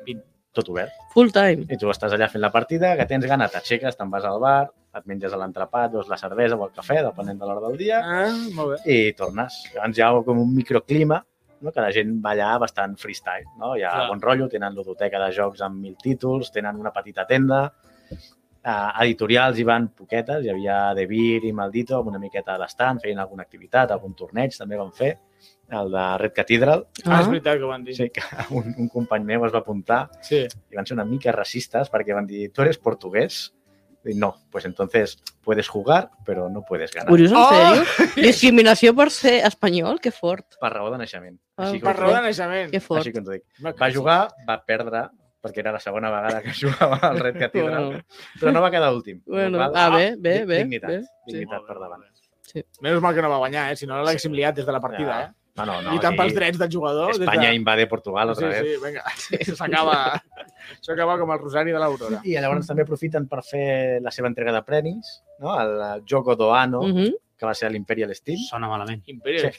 Speaker 4: tot obert.
Speaker 3: Full time.
Speaker 4: i tu estàs allà fent la partida, que tens gana, t'aixeques, te'n vas al bar, et menges l'entrepà, veus la cervesa o el cafè, depenent de l'hora del dia,
Speaker 1: Ah, molt bé.
Speaker 4: i tornes. Llavors hi ha com un microclima, no? que la gent va allà bastant freestyle. No? Hi ha
Speaker 1: Clar.
Speaker 4: bon rotllo, tenen ludoteca de jocs amb mil títols, tenen una petita tenda, eh, editorials hi van poquetes, hi havia De Vir i Maldito amb una miqueta d'estant, feien alguna activitat, algun torneig també van fer, el de Red Cathedral,
Speaker 1: Ah, és
Speaker 3: Ah,
Speaker 1: veritat que ho van dir.
Speaker 4: sí, que [LAUGHS] un, un company meu es va apuntar
Speaker 1: Sí.
Speaker 4: y van a ser una mica racistas para que van a decir, ¿tú eres portugués? Y no, pues entonces puedes jugar, pero no puedes ganar.
Speaker 3: Curiós, en
Speaker 1: Oh!
Speaker 3: sèrio? Discriminació per ser espanyol? Que fort.
Speaker 4: Per raó de naixement.
Speaker 3: Ah,
Speaker 4: Així,
Speaker 1: Per
Speaker 4: com t'ho
Speaker 1: raó de
Speaker 4: dic.
Speaker 1: naixement.
Speaker 3: Que fort.
Speaker 4: així com t'ho dic. Va jugar, va perdre, perquè era la segona vegada que [LAUGHS] jugava al Red Cathedral,
Speaker 3: Bueno,
Speaker 4: però no va quedar últim.
Speaker 3: bueno.
Speaker 4: Val?
Speaker 3: ah, bé, bé,
Speaker 4: Di-
Speaker 3: bé.
Speaker 4: dignitat.
Speaker 3: bé. Sí.
Speaker 4: Dignitat per davant.
Speaker 3: Sí.
Speaker 1: Menys mal que no va guanyar, eh? Si no, l'haguéssim liat des de la partida,
Speaker 4: Ja,
Speaker 1: eh?
Speaker 4: No, no, no.
Speaker 1: I tant
Speaker 4: sí.
Speaker 1: pels drets del jugador. des de-
Speaker 4: Espanya invade Portugal
Speaker 1: Sí,
Speaker 4: otra vez.
Speaker 1: sí, vinga. [LAUGHS] S'acaba. Això acaba com el Rosari de l'Aurora.
Speaker 4: I llavors també aprofiten per fer la seva entrega de premis, no? el el Jogo do Ano,
Speaker 3: Mhm.
Speaker 4: que va ser a l'Imperial Steel.
Speaker 2: Sona malament.
Speaker 1: Imperio.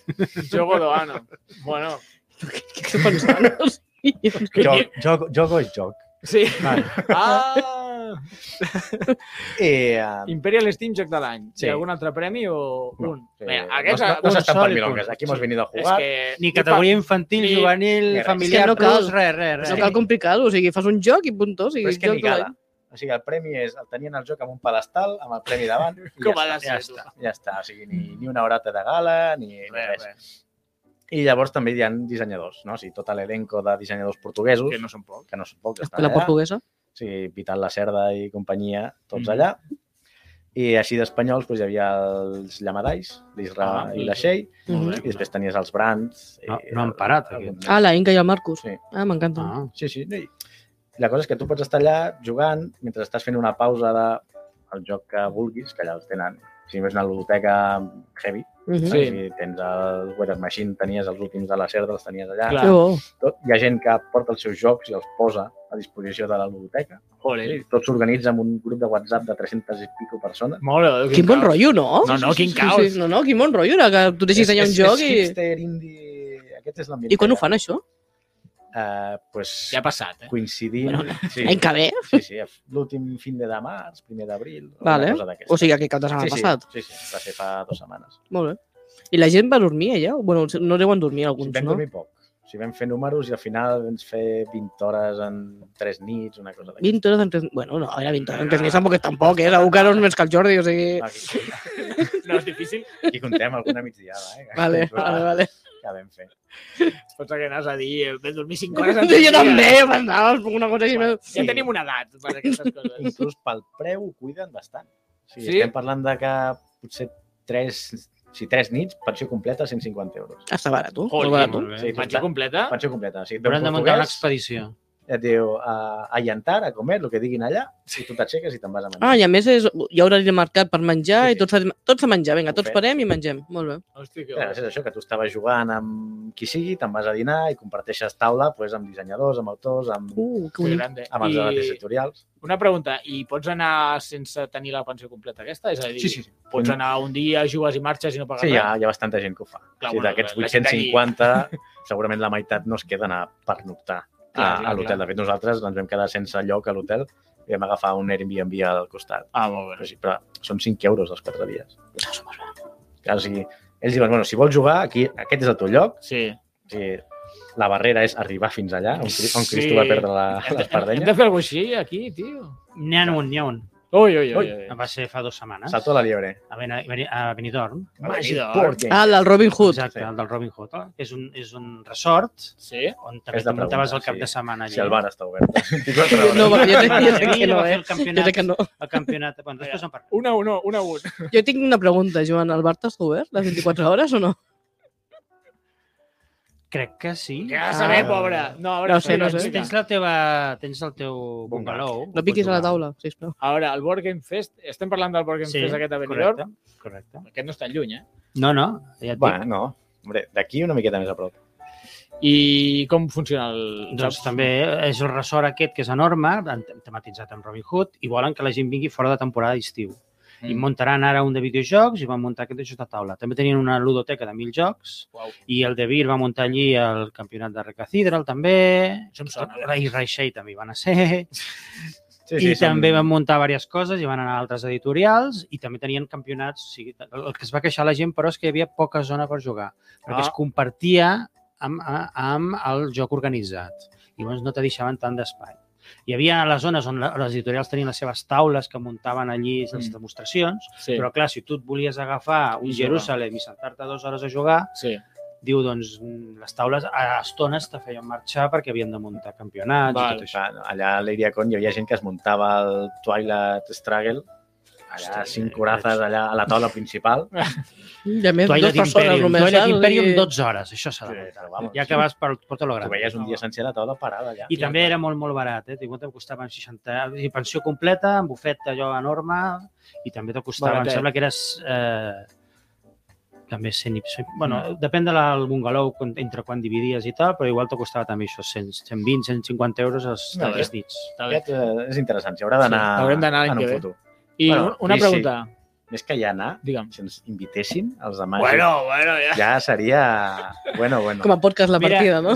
Speaker 1: Jogo doano. Bueno,
Speaker 3: Què esteu pensant? O [LAUGHS] sigui,
Speaker 4: Jogo, jogo, jogo és joc.
Speaker 1: sí. [LAUGHS]
Speaker 4: Vale.
Speaker 1: Ah!
Speaker 4: I, eh,
Speaker 1: Imperial Steam Joc de l'any.
Speaker 4: Sí.
Speaker 1: Hi ha algun altre premi o
Speaker 4: No.
Speaker 1: un?
Speaker 4: Sí,
Speaker 1: Bé,
Speaker 4: no,
Speaker 1: aquest...
Speaker 4: eh, no, no
Speaker 2: un
Speaker 4: s'estan
Speaker 2: sol
Speaker 4: per
Speaker 2: i
Speaker 4: milongues.
Speaker 2: punt.
Speaker 4: Aquí hemos venido a
Speaker 1: és
Speaker 4: jugar.
Speaker 1: que...
Speaker 2: Ni categoria infantil,
Speaker 1: ni-
Speaker 2: juvenil,
Speaker 4: ni res.
Speaker 2: familiar,
Speaker 3: És que no cal.
Speaker 2: plus, res, res,
Speaker 3: No
Speaker 2: res.
Speaker 3: cal complicar-ho, o sigui, fas un joc i puntos. O sigui,
Speaker 4: Però és Pues que
Speaker 3: joc
Speaker 4: ni
Speaker 3: de l'any.
Speaker 4: gala. O sigui, el premi és... El tenien el joc amb un pedestal, amb el premi davant, i
Speaker 1: Com ha
Speaker 4: ja,
Speaker 1: de
Speaker 4: està, ja,
Speaker 1: ser, tu?
Speaker 4: està, ja està. O sigui, ni, ni una horeta de gala, ni, ni
Speaker 1: Res,
Speaker 4: res.
Speaker 1: res.
Speaker 4: I llavors també hi ha dissenyadors, no? O sigui, tot l'elenco de dissenyadors portuguesos,
Speaker 1: Que no són pocs.
Speaker 4: que no són pocs, estan
Speaker 3: La
Speaker 4: allà.
Speaker 3: portuguesa?
Speaker 4: O sigui, Vital La Cerda i companyia, tots
Speaker 1: Mhm.
Speaker 4: allà. I així d'espanyols doncs, hi havia els Llamadais, l'Isra
Speaker 1: Ah,
Speaker 4: i
Speaker 1: sí.
Speaker 4: la Xei,
Speaker 3: Mhm.
Speaker 4: i després tenies els Brands.
Speaker 2: No-
Speaker 4: i
Speaker 2: no han parat,
Speaker 4: algun
Speaker 2: aquests.
Speaker 4: més.
Speaker 3: Ah, la Inca i el Marcus.
Speaker 4: Sí.
Speaker 3: Ah, m'encanta.
Speaker 2: Ah,
Speaker 4: Sí, sí. No, i la cosa és que tu pots estar allà jugant mentre estàs fent una pausa de el joc que vulguis, que allà els tenen. Si és una ludoteca heavy,
Speaker 3: Mhm.
Speaker 1: Sí.
Speaker 4: sí. si tens el Weather Machine, tenies els últims de la Cerda, els tenies allà.
Speaker 1: Clar.
Speaker 3: Que bo.
Speaker 4: Tot, hi ha gent que porta els seus jocs i els posa a disposició de la ludoteca.
Speaker 1: Joder.
Speaker 4: Sí. Tot s'organitza amb un grup de WhatsApp de 300 i pico persones.
Speaker 1: Molt bé.
Speaker 3: Quin bon rotllo, no?
Speaker 1: No, no, quin
Speaker 3: Sí, sí,
Speaker 1: caos.
Speaker 3: sí. No, no, quin bon rotllo, era que tu deixis allà un
Speaker 4: és,
Speaker 3: joc
Speaker 4: és
Speaker 3: i...
Speaker 4: hipster, indie... Aquest és l'ambient.
Speaker 3: I quan ho fan, això?
Speaker 4: Uh, pues,
Speaker 1: Ja ha passat, eh?
Speaker 4: coincidint... Sí,
Speaker 3: Any que ve?
Speaker 4: sí, sí, l'últim fin de març, primer d'abril,
Speaker 3: Vale.
Speaker 4: cosa d'aquesta.
Speaker 3: O sigui, aquest cap de setmana passat.
Speaker 4: Sí, sí, va ser fa dues setmanes.
Speaker 3: Molt bé. I la gent va dormir allà? Bueno, no deuen dormir alguns,
Speaker 4: Alguns, vam
Speaker 3: no?
Speaker 4: dormir poc. O sigui, vam fer números i al final vam fer 20 hores en 3 nits, una cosa d'aquesta.
Speaker 3: 20 hores en tres... Bueno, no, era 20 hores en tres nits, tampoc, tampoc, eh? Segur que ara és més que el Jordi, o
Speaker 4: Ah,
Speaker 3: sigui...
Speaker 4: Aquí,
Speaker 1: [LAUGHS] No és difícil.
Speaker 4: aquí comptem alguna migdiada, eh? [LAUGHS]
Speaker 3: Vale, vale, vale.
Speaker 4: que vam fer.
Speaker 1: Pots que anàs a dir, eh, vam dormir 5 [LAUGHS] hores. en
Speaker 3: Jo
Speaker 1: cinc
Speaker 3: també
Speaker 1: dies.
Speaker 3: pensava alguna cosa així. més.
Speaker 1: Ja tenim una edat per aquestes coses. [LAUGHS]
Speaker 4: Inclús pel preu ho cuiden bastant. O sigui,
Speaker 1: Sí?
Speaker 4: Estem parlant de que potser tres, si tres nits, pensió completa, 150 euros.
Speaker 3: Està barat, tu.
Speaker 1: Jolín.
Speaker 3: Molt barat, eh? tu.
Speaker 2: Molt bé.
Speaker 4: Sí,
Speaker 1: Pensió
Speaker 3: Ah.
Speaker 1: completa?
Speaker 4: Pensió completa. O sigui, té un
Speaker 2: Hauran de muntar una
Speaker 4: portuguès,
Speaker 2: expedició.
Speaker 4: et diu a, a llantar, a comer, el que diguin allà, i tu t'aixeques i te'n vas a menjar.
Speaker 3: Ah, i a més és, hi ha horari de mercat per menjar
Speaker 4: Sí,
Speaker 3: i tots, a- tots a menjar. Vinga, tots
Speaker 4: Perfecte.
Speaker 3: parem i mengem. Molt bé.
Speaker 1: Hòstia, que
Speaker 4: Clar, és això, que tu estaves jugant amb qui sigui, te'n vas a dinar i comparteixes taula doncs, amb dissenyadors, amb autors, amb,
Speaker 3: Uh, que
Speaker 1: Que
Speaker 3: bonic.
Speaker 1: gran, eh?
Speaker 4: amb els artistes
Speaker 1: I
Speaker 4: editorials.
Speaker 1: una pregunta, i pots anar sense tenir la pensió completa aquesta? És a dir,
Speaker 4: sí.
Speaker 1: pots anar un dia, jugues i marxes i no pagues
Speaker 4: Sí, hi ha,
Speaker 1: res?
Speaker 4: hi ha bastanta gent que ho fa.
Speaker 1: Clar,
Speaker 4: Clar, sí,
Speaker 1: bueno,
Speaker 4: D'aquests
Speaker 1: la gent d'aquí.
Speaker 4: 850, segurament la meitat no es queden a, per noctar a,
Speaker 1: Clar, clar,
Speaker 4: a l'hotel.
Speaker 1: clar.
Speaker 4: De fet, nosaltres ens vam quedar sense lloc a l'hotel i vam agafar un Airbnb al costat.
Speaker 1: Ah, molt bé.
Speaker 4: Però, sí, però són 5 euros els 4 dies. Clar, o sigui, ells diuen, bueno, si vols jugar, aquí, aquest és el teu lloc.
Speaker 1: Sí.
Speaker 4: O sigui, la barrera és arribar fins allà, on, Cri- on
Speaker 1: Sí.
Speaker 4: Cristo va perdre la-
Speaker 1: Hem, de- hem, hem
Speaker 4: l'espardenya.
Speaker 1: de fer alguna cosa així, aquí, tio?
Speaker 2: N'hi ha un, n'hi ha un.
Speaker 1: Ui, ui, ui.
Speaker 4: Ui.
Speaker 1: ui.
Speaker 2: Va ser fa dues setmanes.
Speaker 4: Salto a la liebre.
Speaker 2: A, ben, a Benidorm.
Speaker 1: Màgia d'or.
Speaker 4: Board game.
Speaker 3: Ah, el del Robin Hood.
Speaker 2: Exacte,
Speaker 4: Sí.
Speaker 2: el del Robin Hood. eh? És un, és un resort
Speaker 1: Sí?
Speaker 2: on també
Speaker 4: És de
Speaker 2: t'ho muntaves el
Speaker 4: preguntar,
Speaker 2: cap
Speaker 4: sí.
Speaker 2: de setmana.
Speaker 4: Si el bar està
Speaker 1: [LAUGHS]
Speaker 4: obert. 24 hores.
Speaker 3: No, va, jo crec, jo crec que
Speaker 2: Sevilla
Speaker 3: no,
Speaker 2: va fer
Speaker 3: eh?
Speaker 2: el
Speaker 3: Jo crec
Speaker 2: campionat,
Speaker 3: que no.
Speaker 2: el campionat. Bueno, després en parlem.
Speaker 1: Una a una, una a una.
Speaker 3: Jo tinc una pregunta, Joan. El bar t'està obert les 24 hores o no?
Speaker 2: Crec que sí.
Speaker 1: [LAUGHS] Ja
Speaker 3: Ah.
Speaker 1: sabem, pobre. No, a veure,
Speaker 3: No sé,
Speaker 1: espera,
Speaker 3: no sé.
Speaker 1: espera.
Speaker 2: Tens la teva... Tens el teu bungalow.
Speaker 3: No piquis a la taula, sisplau.
Speaker 1: A veure, el Board Game Fest, estem parlant del Board Game
Speaker 2: Sí,
Speaker 1: Fest aquest a Benidorm.
Speaker 2: correcte. correcte.
Speaker 1: Aquest no està lluny, eh?
Speaker 2: No, no, ja et dic.
Speaker 4: Bueno, no. Hombre, d'aquí una miqueta més a prop.
Speaker 1: I com funciona el...
Speaker 2: Doncs
Speaker 1: saps?
Speaker 2: també és el ressort aquest que és enorme, han tematitzat amb Robin Hood, i volen que la gent vingui fora de temporada d'estiu. Mm. I
Speaker 1: Mm.
Speaker 2: muntaran ara un de videojocs i van muntar aquest de jocs de taula. També tenien una ludoteca de mil jocs
Speaker 1: Uau.
Speaker 2: i el de Vir va muntar allí el campionat de Recathedral també.
Speaker 1: Això em sona.
Speaker 2: I Reixei també hi van a ser.
Speaker 4: Sí,
Speaker 2: I també van muntar diverses coses i van anar a altres editorials i també tenien campionats. O sigui, el que es va queixar la gent, però, és que hi havia poca zona per jugar, perquè
Speaker 1: Ah.
Speaker 2: es compartia amb, a- amb el joc organitzat. I llavors no te deixaven tant d'espai. Hi havia les zones on la- les editorials tenien les seves taules que muntaven allí les
Speaker 1: Mm.
Speaker 2: demostracions,
Speaker 1: Sí,
Speaker 2: però clar, si tu et volies agafar un
Speaker 1: I jugar.
Speaker 2: Jerusalem i sentar-te dues hores a jugar,
Speaker 1: sí.
Speaker 2: diu, doncs, mm, les taules a estones te feien marxar perquè havien de muntar campionats
Speaker 1: Val.
Speaker 2: i tot això.
Speaker 4: Clar, Allà a l'Area Con hi havia gent que es muntava el Twilight Struggle, allà
Speaker 2: Hòstia,
Speaker 4: cinc corazes allà a la taula principal.
Speaker 3: I a més,
Speaker 2: Toalla
Speaker 3: dues persones
Speaker 2: d'Imperium,
Speaker 3: només, eh,
Speaker 2: toalla
Speaker 3: saps? O
Speaker 2: d'Imperium
Speaker 3: sigui,
Speaker 2: 12 hores, això s'ha de
Speaker 4: Sí,
Speaker 2: muntar.
Speaker 4: però vamos.
Speaker 2: Ja que vas per, per tot lo gran.
Speaker 4: Tu veies un dia sencer la taula parada allà.
Speaker 2: I també era molt, molt barat, eh? Tingut, costaven 60... o sigui, Pensió completa, amb bufet allò enorme, i també te costava,
Speaker 1: Baratet.
Speaker 2: em sembla que eres... Eh, també 100 i... Bueno, depèn del bungalow quan- entre quan dividies i tal, però igual te costava també això, 100, 120, 150 euros els
Speaker 4: Molt bé.
Speaker 2: tres nits.
Speaker 1: Està bé.
Speaker 4: Aquest eh, és interessant, s'hi haurà d'anar
Speaker 1: Sí, haurem d'anar l'any
Speaker 4: en
Speaker 1: que
Speaker 4: un
Speaker 1: ve.
Speaker 4: futur.
Speaker 1: I
Speaker 4: Bueno,
Speaker 1: un- una
Speaker 4: sí, sí.
Speaker 1: pregunta,
Speaker 4: Més que ja anar,
Speaker 1: digue'm.
Speaker 4: si ens invitessin els de màgic,
Speaker 1: Bueno, bueno, ja.
Speaker 4: ja seria... Bueno, bueno.
Speaker 3: Com a podcast la
Speaker 2: Mira,
Speaker 3: partida, no?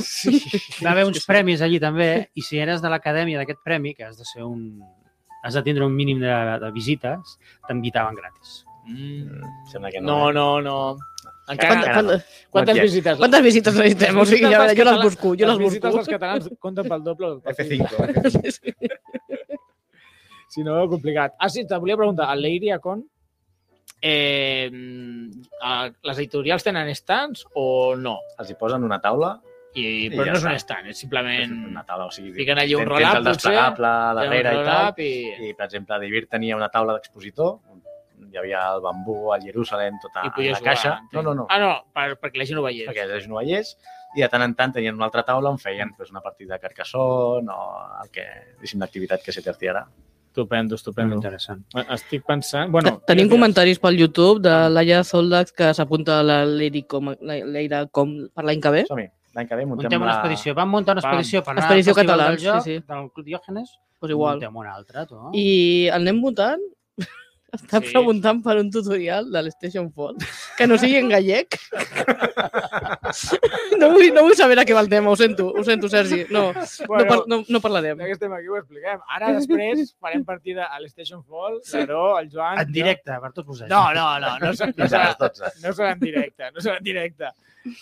Speaker 2: Va haver uns premis allí també, i si eres de l'acadèmia d'aquest premi, que has de ser un... Has de tindre un mínim de, de visites, t'invitaven gratis.
Speaker 1: Mm.
Speaker 4: Mm, Sembla que
Speaker 1: No, no,
Speaker 4: no.
Speaker 1: no.
Speaker 3: Quanta-
Speaker 1: Encara,
Speaker 3: quanta-
Speaker 1: quantes
Speaker 4: Quantes-
Speaker 1: visites?
Speaker 3: Quantes visites necessitem? O sigui, ja, jo les busco, jo les
Speaker 1: Les visites dels
Speaker 3: busco.
Speaker 1: catalans compten pel doble. o pel triple.
Speaker 4: F5.
Speaker 3: [LAUGHS]
Speaker 1: Si no, complicat. Ah, sí, te volia preguntar, a l'Eiria Con, eh, a- les editorials tenen stands o no?
Speaker 4: Els hi posen una taula,
Speaker 1: I,
Speaker 4: I
Speaker 1: però
Speaker 4: ja
Speaker 1: no és un
Speaker 4: està.
Speaker 1: stand, és
Speaker 4: és
Speaker 1: simplement
Speaker 4: una taula, o sigui,
Speaker 1: Fiquen allí un
Speaker 4: tens-
Speaker 1: roll-up,
Speaker 4: tens el
Speaker 1: potser,
Speaker 4: desplegable
Speaker 1: un
Speaker 4: darrere i tal,
Speaker 1: roll-up i,
Speaker 4: I, per exemple, a Divir tenia una taula d'expositor, on hi havia el bambú, el Jerusalem, tota
Speaker 1: i
Speaker 4: la
Speaker 1: podies jugar.
Speaker 4: caixa.
Speaker 1: entenc.
Speaker 4: No, no, no,
Speaker 1: Ah, no, per, perquè la gent ho veiés.
Speaker 4: perquè es novellers, i de tant en tant tenien una altra taula on feien pues, una partida de Carcassonne o el que, diguéssim, l'activitat que se terciara.
Speaker 1: Estupendo,
Speaker 2: Molt
Speaker 1: estupendo.
Speaker 2: interessant.
Speaker 1: Estic pensant... Bueno,
Speaker 3: Tenim
Speaker 1: jo-
Speaker 3: comentaris pel YouTube de Laia Soldax que s'apunta a la Lady Com, la- l'Eira Com per l'any que ve.
Speaker 4: Som-hi, l'any que ve muntem,
Speaker 2: Muntem una
Speaker 4: la...
Speaker 2: expedició. Vam muntar una
Speaker 1: Pam.
Speaker 2: expedició per anar
Speaker 3: Expedició
Speaker 2: al Festival
Speaker 3: catalans,
Speaker 2: del Joc,
Speaker 3: sí, sí.
Speaker 2: del Club Diògenes.
Speaker 3: Pues igual.
Speaker 2: Muntem una altra, tu. I...
Speaker 3: I el nen votant [LAUGHS] està
Speaker 1: Sí.
Speaker 3: preguntant per un tutorial de l'Station 4 que no sigui en gallec. [LAUGHS] No vull, no vull saber a què va el tema, ho sento, ho sento, Sergi. No, no, par, no, no parlarem.
Speaker 1: Ja que estem aquí ho expliquem. Ara després farem partida a l'Station Fall, l'Aro, el Joan...
Speaker 2: En directe, per tots vosaltres.
Speaker 1: No, no, no, no, no, no,
Speaker 4: Fins a
Speaker 1: serà,
Speaker 4: les 12.
Speaker 1: no serà en directe, no serà en directe.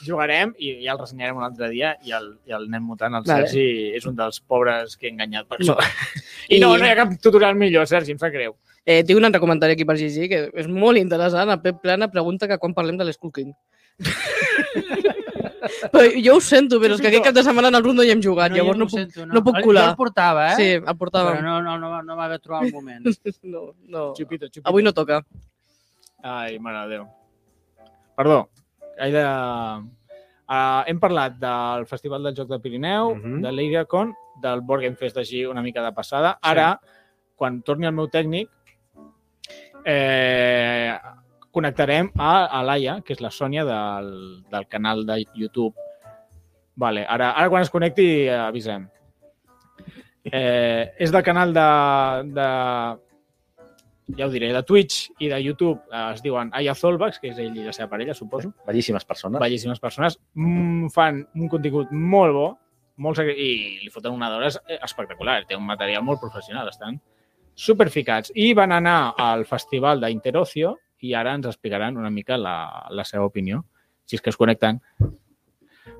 Speaker 1: Jugarem i ja el ressenyarem un altre dia i el, i el nen mutant, el
Speaker 3: Vale.
Speaker 1: Sergi, és un dels pobres que he enganyat per
Speaker 3: No.
Speaker 1: això. I no,
Speaker 3: I-
Speaker 1: no hi ha cap tutorial millor, Sergi, em sap greu.
Speaker 3: Eh, tinc un altre comentari aquí per llegir que és molt interessant. El Pep Plana pregunta que quan parlem de l'School King. [LAUGHS] Però jo ho sento, però
Speaker 1: Sí,
Speaker 3: és
Speaker 1: sí,
Speaker 3: que aquest
Speaker 1: però-
Speaker 3: cap de setmana en el Rondo hi hem jugat,
Speaker 2: hi ha-
Speaker 3: llavors no
Speaker 2: ho
Speaker 3: puc...
Speaker 2: sento,
Speaker 3: no puc
Speaker 2: El-
Speaker 3: colar.
Speaker 2: Jo el portava, eh?
Speaker 3: Sí, el
Speaker 2: Però
Speaker 3: portàvem.
Speaker 2: no, no, no, va- no va haver trobar el moment.
Speaker 3: No, no.
Speaker 1: Xupito, xupito.
Speaker 3: Avui no toca.
Speaker 1: Ai, mare de Déu. Perdó. He de... Uh, hem parlat del Festival del Joc del Pirineu,
Speaker 2: Mhm.
Speaker 1: de l'Iriacon, del Board Game Fest així una mica de passada. Ara, quan torni el meu tècnic, eh, connectarem a, a Laia, que és la Sònia del, del canal de YouTube. Vale, ara, ara quan es connecti eh, avisem. Eh, és del canal de, de, ja ho diré, de Twitch i de YouTube eh, es diuen Aya Zolbax, que és ell i la seva parella, suposo.
Speaker 4: Bellíssimes persones.
Speaker 1: Bellíssimes persones. Mm, fan un contingut molt bo, molt secret, i li foten una d'hores eh, espectacular. Té un material molt professional, estan superficats. I van anar al festival d'Interocio i ara ens explicaran una mica la, la seva opinió, si és que es connecten.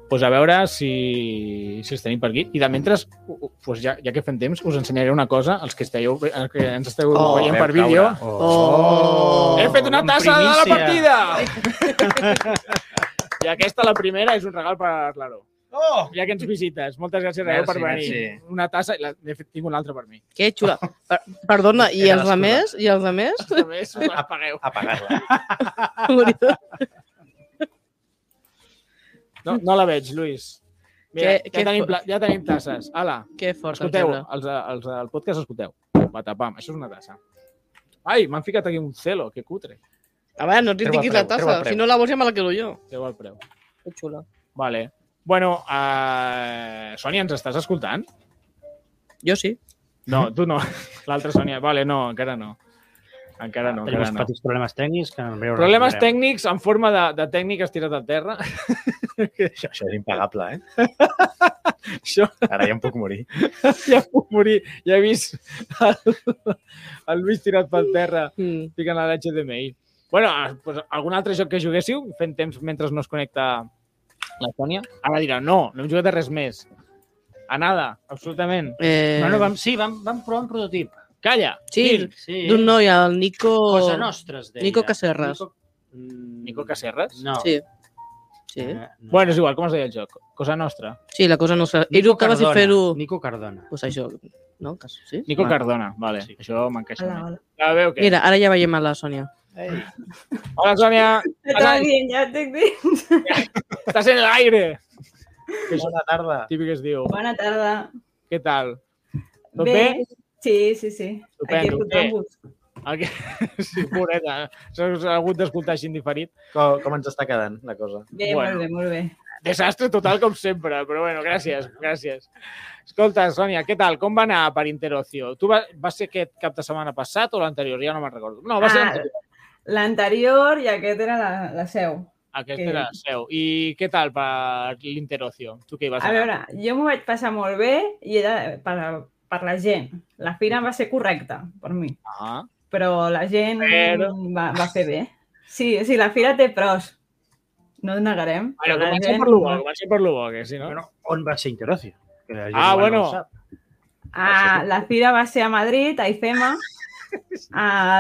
Speaker 1: Pues a veure si, si els tenim per aquí. I de mentre, u- u- pues ja, ja que fem temps, us ensenyaré una cosa, els que, esteu, els que ens esteu
Speaker 3: Oh,
Speaker 1: veient
Speaker 4: vam
Speaker 1: per vídeo.
Speaker 4: caure.
Speaker 3: Oh.
Speaker 1: He fet una
Speaker 2: en
Speaker 1: tassa de la
Speaker 2: primícia.
Speaker 1: partida!
Speaker 5: [LAUGHS]
Speaker 1: I aquesta, la primera, és un regal per l'Aro.
Speaker 5: Oh!
Speaker 1: Ja que ens visites, moltes gràcies, Arau,
Speaker 5: Merci,
Speaker 1: per venir.
Speaker 5: merci.
Speaker 1: Una tassa, i la, de fet, tinc una altra per mi.
Speaker 3: Que xula. Per- Perdona, i
Speaker 4: Era
Speaker 3: els
Speaker 4: l'excusa.
Speaker 3: altres? I els altres? [LAUGHS]
Speaker 1: També us les pagueu.
Speaker 4: Apagar-la.
Speaker 1: No, no la veig, Lluís. Mira,
Speaker 3: Què-
Speaker 1: ja,
Speaker 3: què Doncs
Speaker 1: tenim,
Speaker 3: fo-
Speaker 1: pla- ja tenim tasses. Ala,
Speaker 3: que fort, el
Speaker 1: escolteu,
Speaker 3: gebre.
Speaker 1: els, els, el podcast escolteu. Patapam, això és una tassa. Ai, m'han ficat aquí un celo, que cutre.
Speaker 3: A veure, no et
Speaker 4: Treu el
Speaker 3: critiquis
Speaker 4: preu,
Speaker 3: la
Speaker 4: treu el
Speaker 3: tassa.
Speaker 4: preu.
Speaker 3: Si no la vols ja me la quedo jo.
Speaker 1: Déu el preu.
Speaker 3: Que xula.
Speaker 1: Vale. Bueno, eh, Sònia, ens estàs escoltant?
Speaker 3: Jo sí.
Speaker 1: No, tu no. [LAUGHS] L'altra Sònia. Vvale, no, encara no. Encara no,
Speaker 2: Tenim
Speaker 1: encara
Speaker 2: uns
Speaker 1: no.
Speaker 2: petits problemes tècnics que en breu
Speaker 1: Problemes
Speaker 2: resoldrem.
Speaker 1: tècnics en forma de, de tècnic estirat a terra.
Speaker 4: [LAUGHS]
Speaker 1: [LAUGHS]
Speaker 4: Això, això és impagable, eh?
Speaker 1: Això
Speaker 4: Ara ja em puc morir.
Speaker 1: ja puc morir. Ja he vist el, [LAUGHS] el Lluís tirat per terra
Speaker 3: Mm.
Speaker 1: ficant a l'HDMI. Bueno, eh, pues, algun altre joc que juguéssiu fent temps mentre no es connecta la Sònia? Ara dirà, no, no hem jugat a res més. A nada, absolutament.
Speaker 3: Eh,
Speaker 2: No, no, vam, sí, vam, vam provar un prototip.
Speaker 1: Calla!
Speaker 3: Sí,
Speaker 2: sí.
Speaker 3: d'un noi, el Nico...
Speaker 2: Cosa nostra, es deia.
Speaker 3: Nico Casserres.
Speaker 2: Nico, Mm,
Speaker 1: Nico Caserres?
Speaker 2: No.
Speaker 3: Sí. Sí.
Speaker 2: Eh, no.
Speaker 1: Bueno, és igual, com es deia el joc? Cosa nostra.
Speaker 3: sí, la cosa nostra. I
Speaker 2: Nico
Speaker 3: tu que vas a
Speaker 2: Cardona,
Speaker 3: fer-ho...
Speaker 2: Nico Cardona.
Speaker 3: Pues això, no? Que sí?
Speaker 1: Nico
Speaker 3: Va.
Speaker 1: Cardona, vale.
Speaker 2: Sí.
Speaker 1: Això m'encaixa.
Speaker 6: Hola,
Speaker 1: bé.
Speaker 6: hola.
Speaker 1: La veu que...
Speaker 3: Mira, ara ja veiem a la Sònia.
Speaker 1: Hola, Sònia!
Speaker 6: Estava dient, ja t'he [LAUGHS] dit.
Speaker 1: Estàs en l'aire!
Speaker 4: [LAUGHS] Bona tarda.
Speaker 1: Típic que es diu.
Speaker 6: Bona tarda.
Speaker 1: Què tal? Tot bé?
Speaker 6: Sí, sí, sí.
Speaker 1: Estupendo.
Speaker 6: Aquí escoltant-vos.
Speaker 1: Aquí... [LAUGHS] Sí, pobreta. S'ha s'ha hagut d'escoltar així indiferit.
Speaker 4: Com, com ens està quedant la cosa?
Speaker 6: Bé,
Speaker 1: Bueno.
Speaker 6: molt bé, molt bé.
Speaker 1: Desastre total, com sempre, però bueno, gràcies, gràcies. Escolta, Sònia, què tal? Com va anar per Interocio? Tu va, va ser aquest cap de setmana passat o l'anterior? Ja no me'n recordo. No, va ser
Speaker 6: Ah,
Speaker 1: l'anterior.
Speaker 6: L'anterior i aquest era la, la seu.
Speaker 1: Aquest
Speaker 6: que-
Speaker 1: era el seu. I què tal per l'Interocio? Tu què hi vas
Speaker 6: A veure, jo m'ho vaig passar molt bé i era per, per la gent. La fira va ser correcta per mi,
Speaker 1: Ah,
Speaker 6: però la gent
Speaker 1: Però-
Speaker 6: va, va fer bé. Sí, sí, la fira té pros. No ho negarem.
Speaker 1: bueno,
Speaker 6: la
Speaker 1: comencem per lo bo, comencem per lo bo, que si no...
Speaker 2: Bueno, on va ser Interocio? Que la gent
Speaker 1: Ah,
Speaker 2: igual
Speaker 1: bueno.
Speaker 2: ho sap.
Speaker 6: Ah, la fira va ser a Madrid,
Speaker 4: [LAUGHS]
Speaker 6: a IFEMA,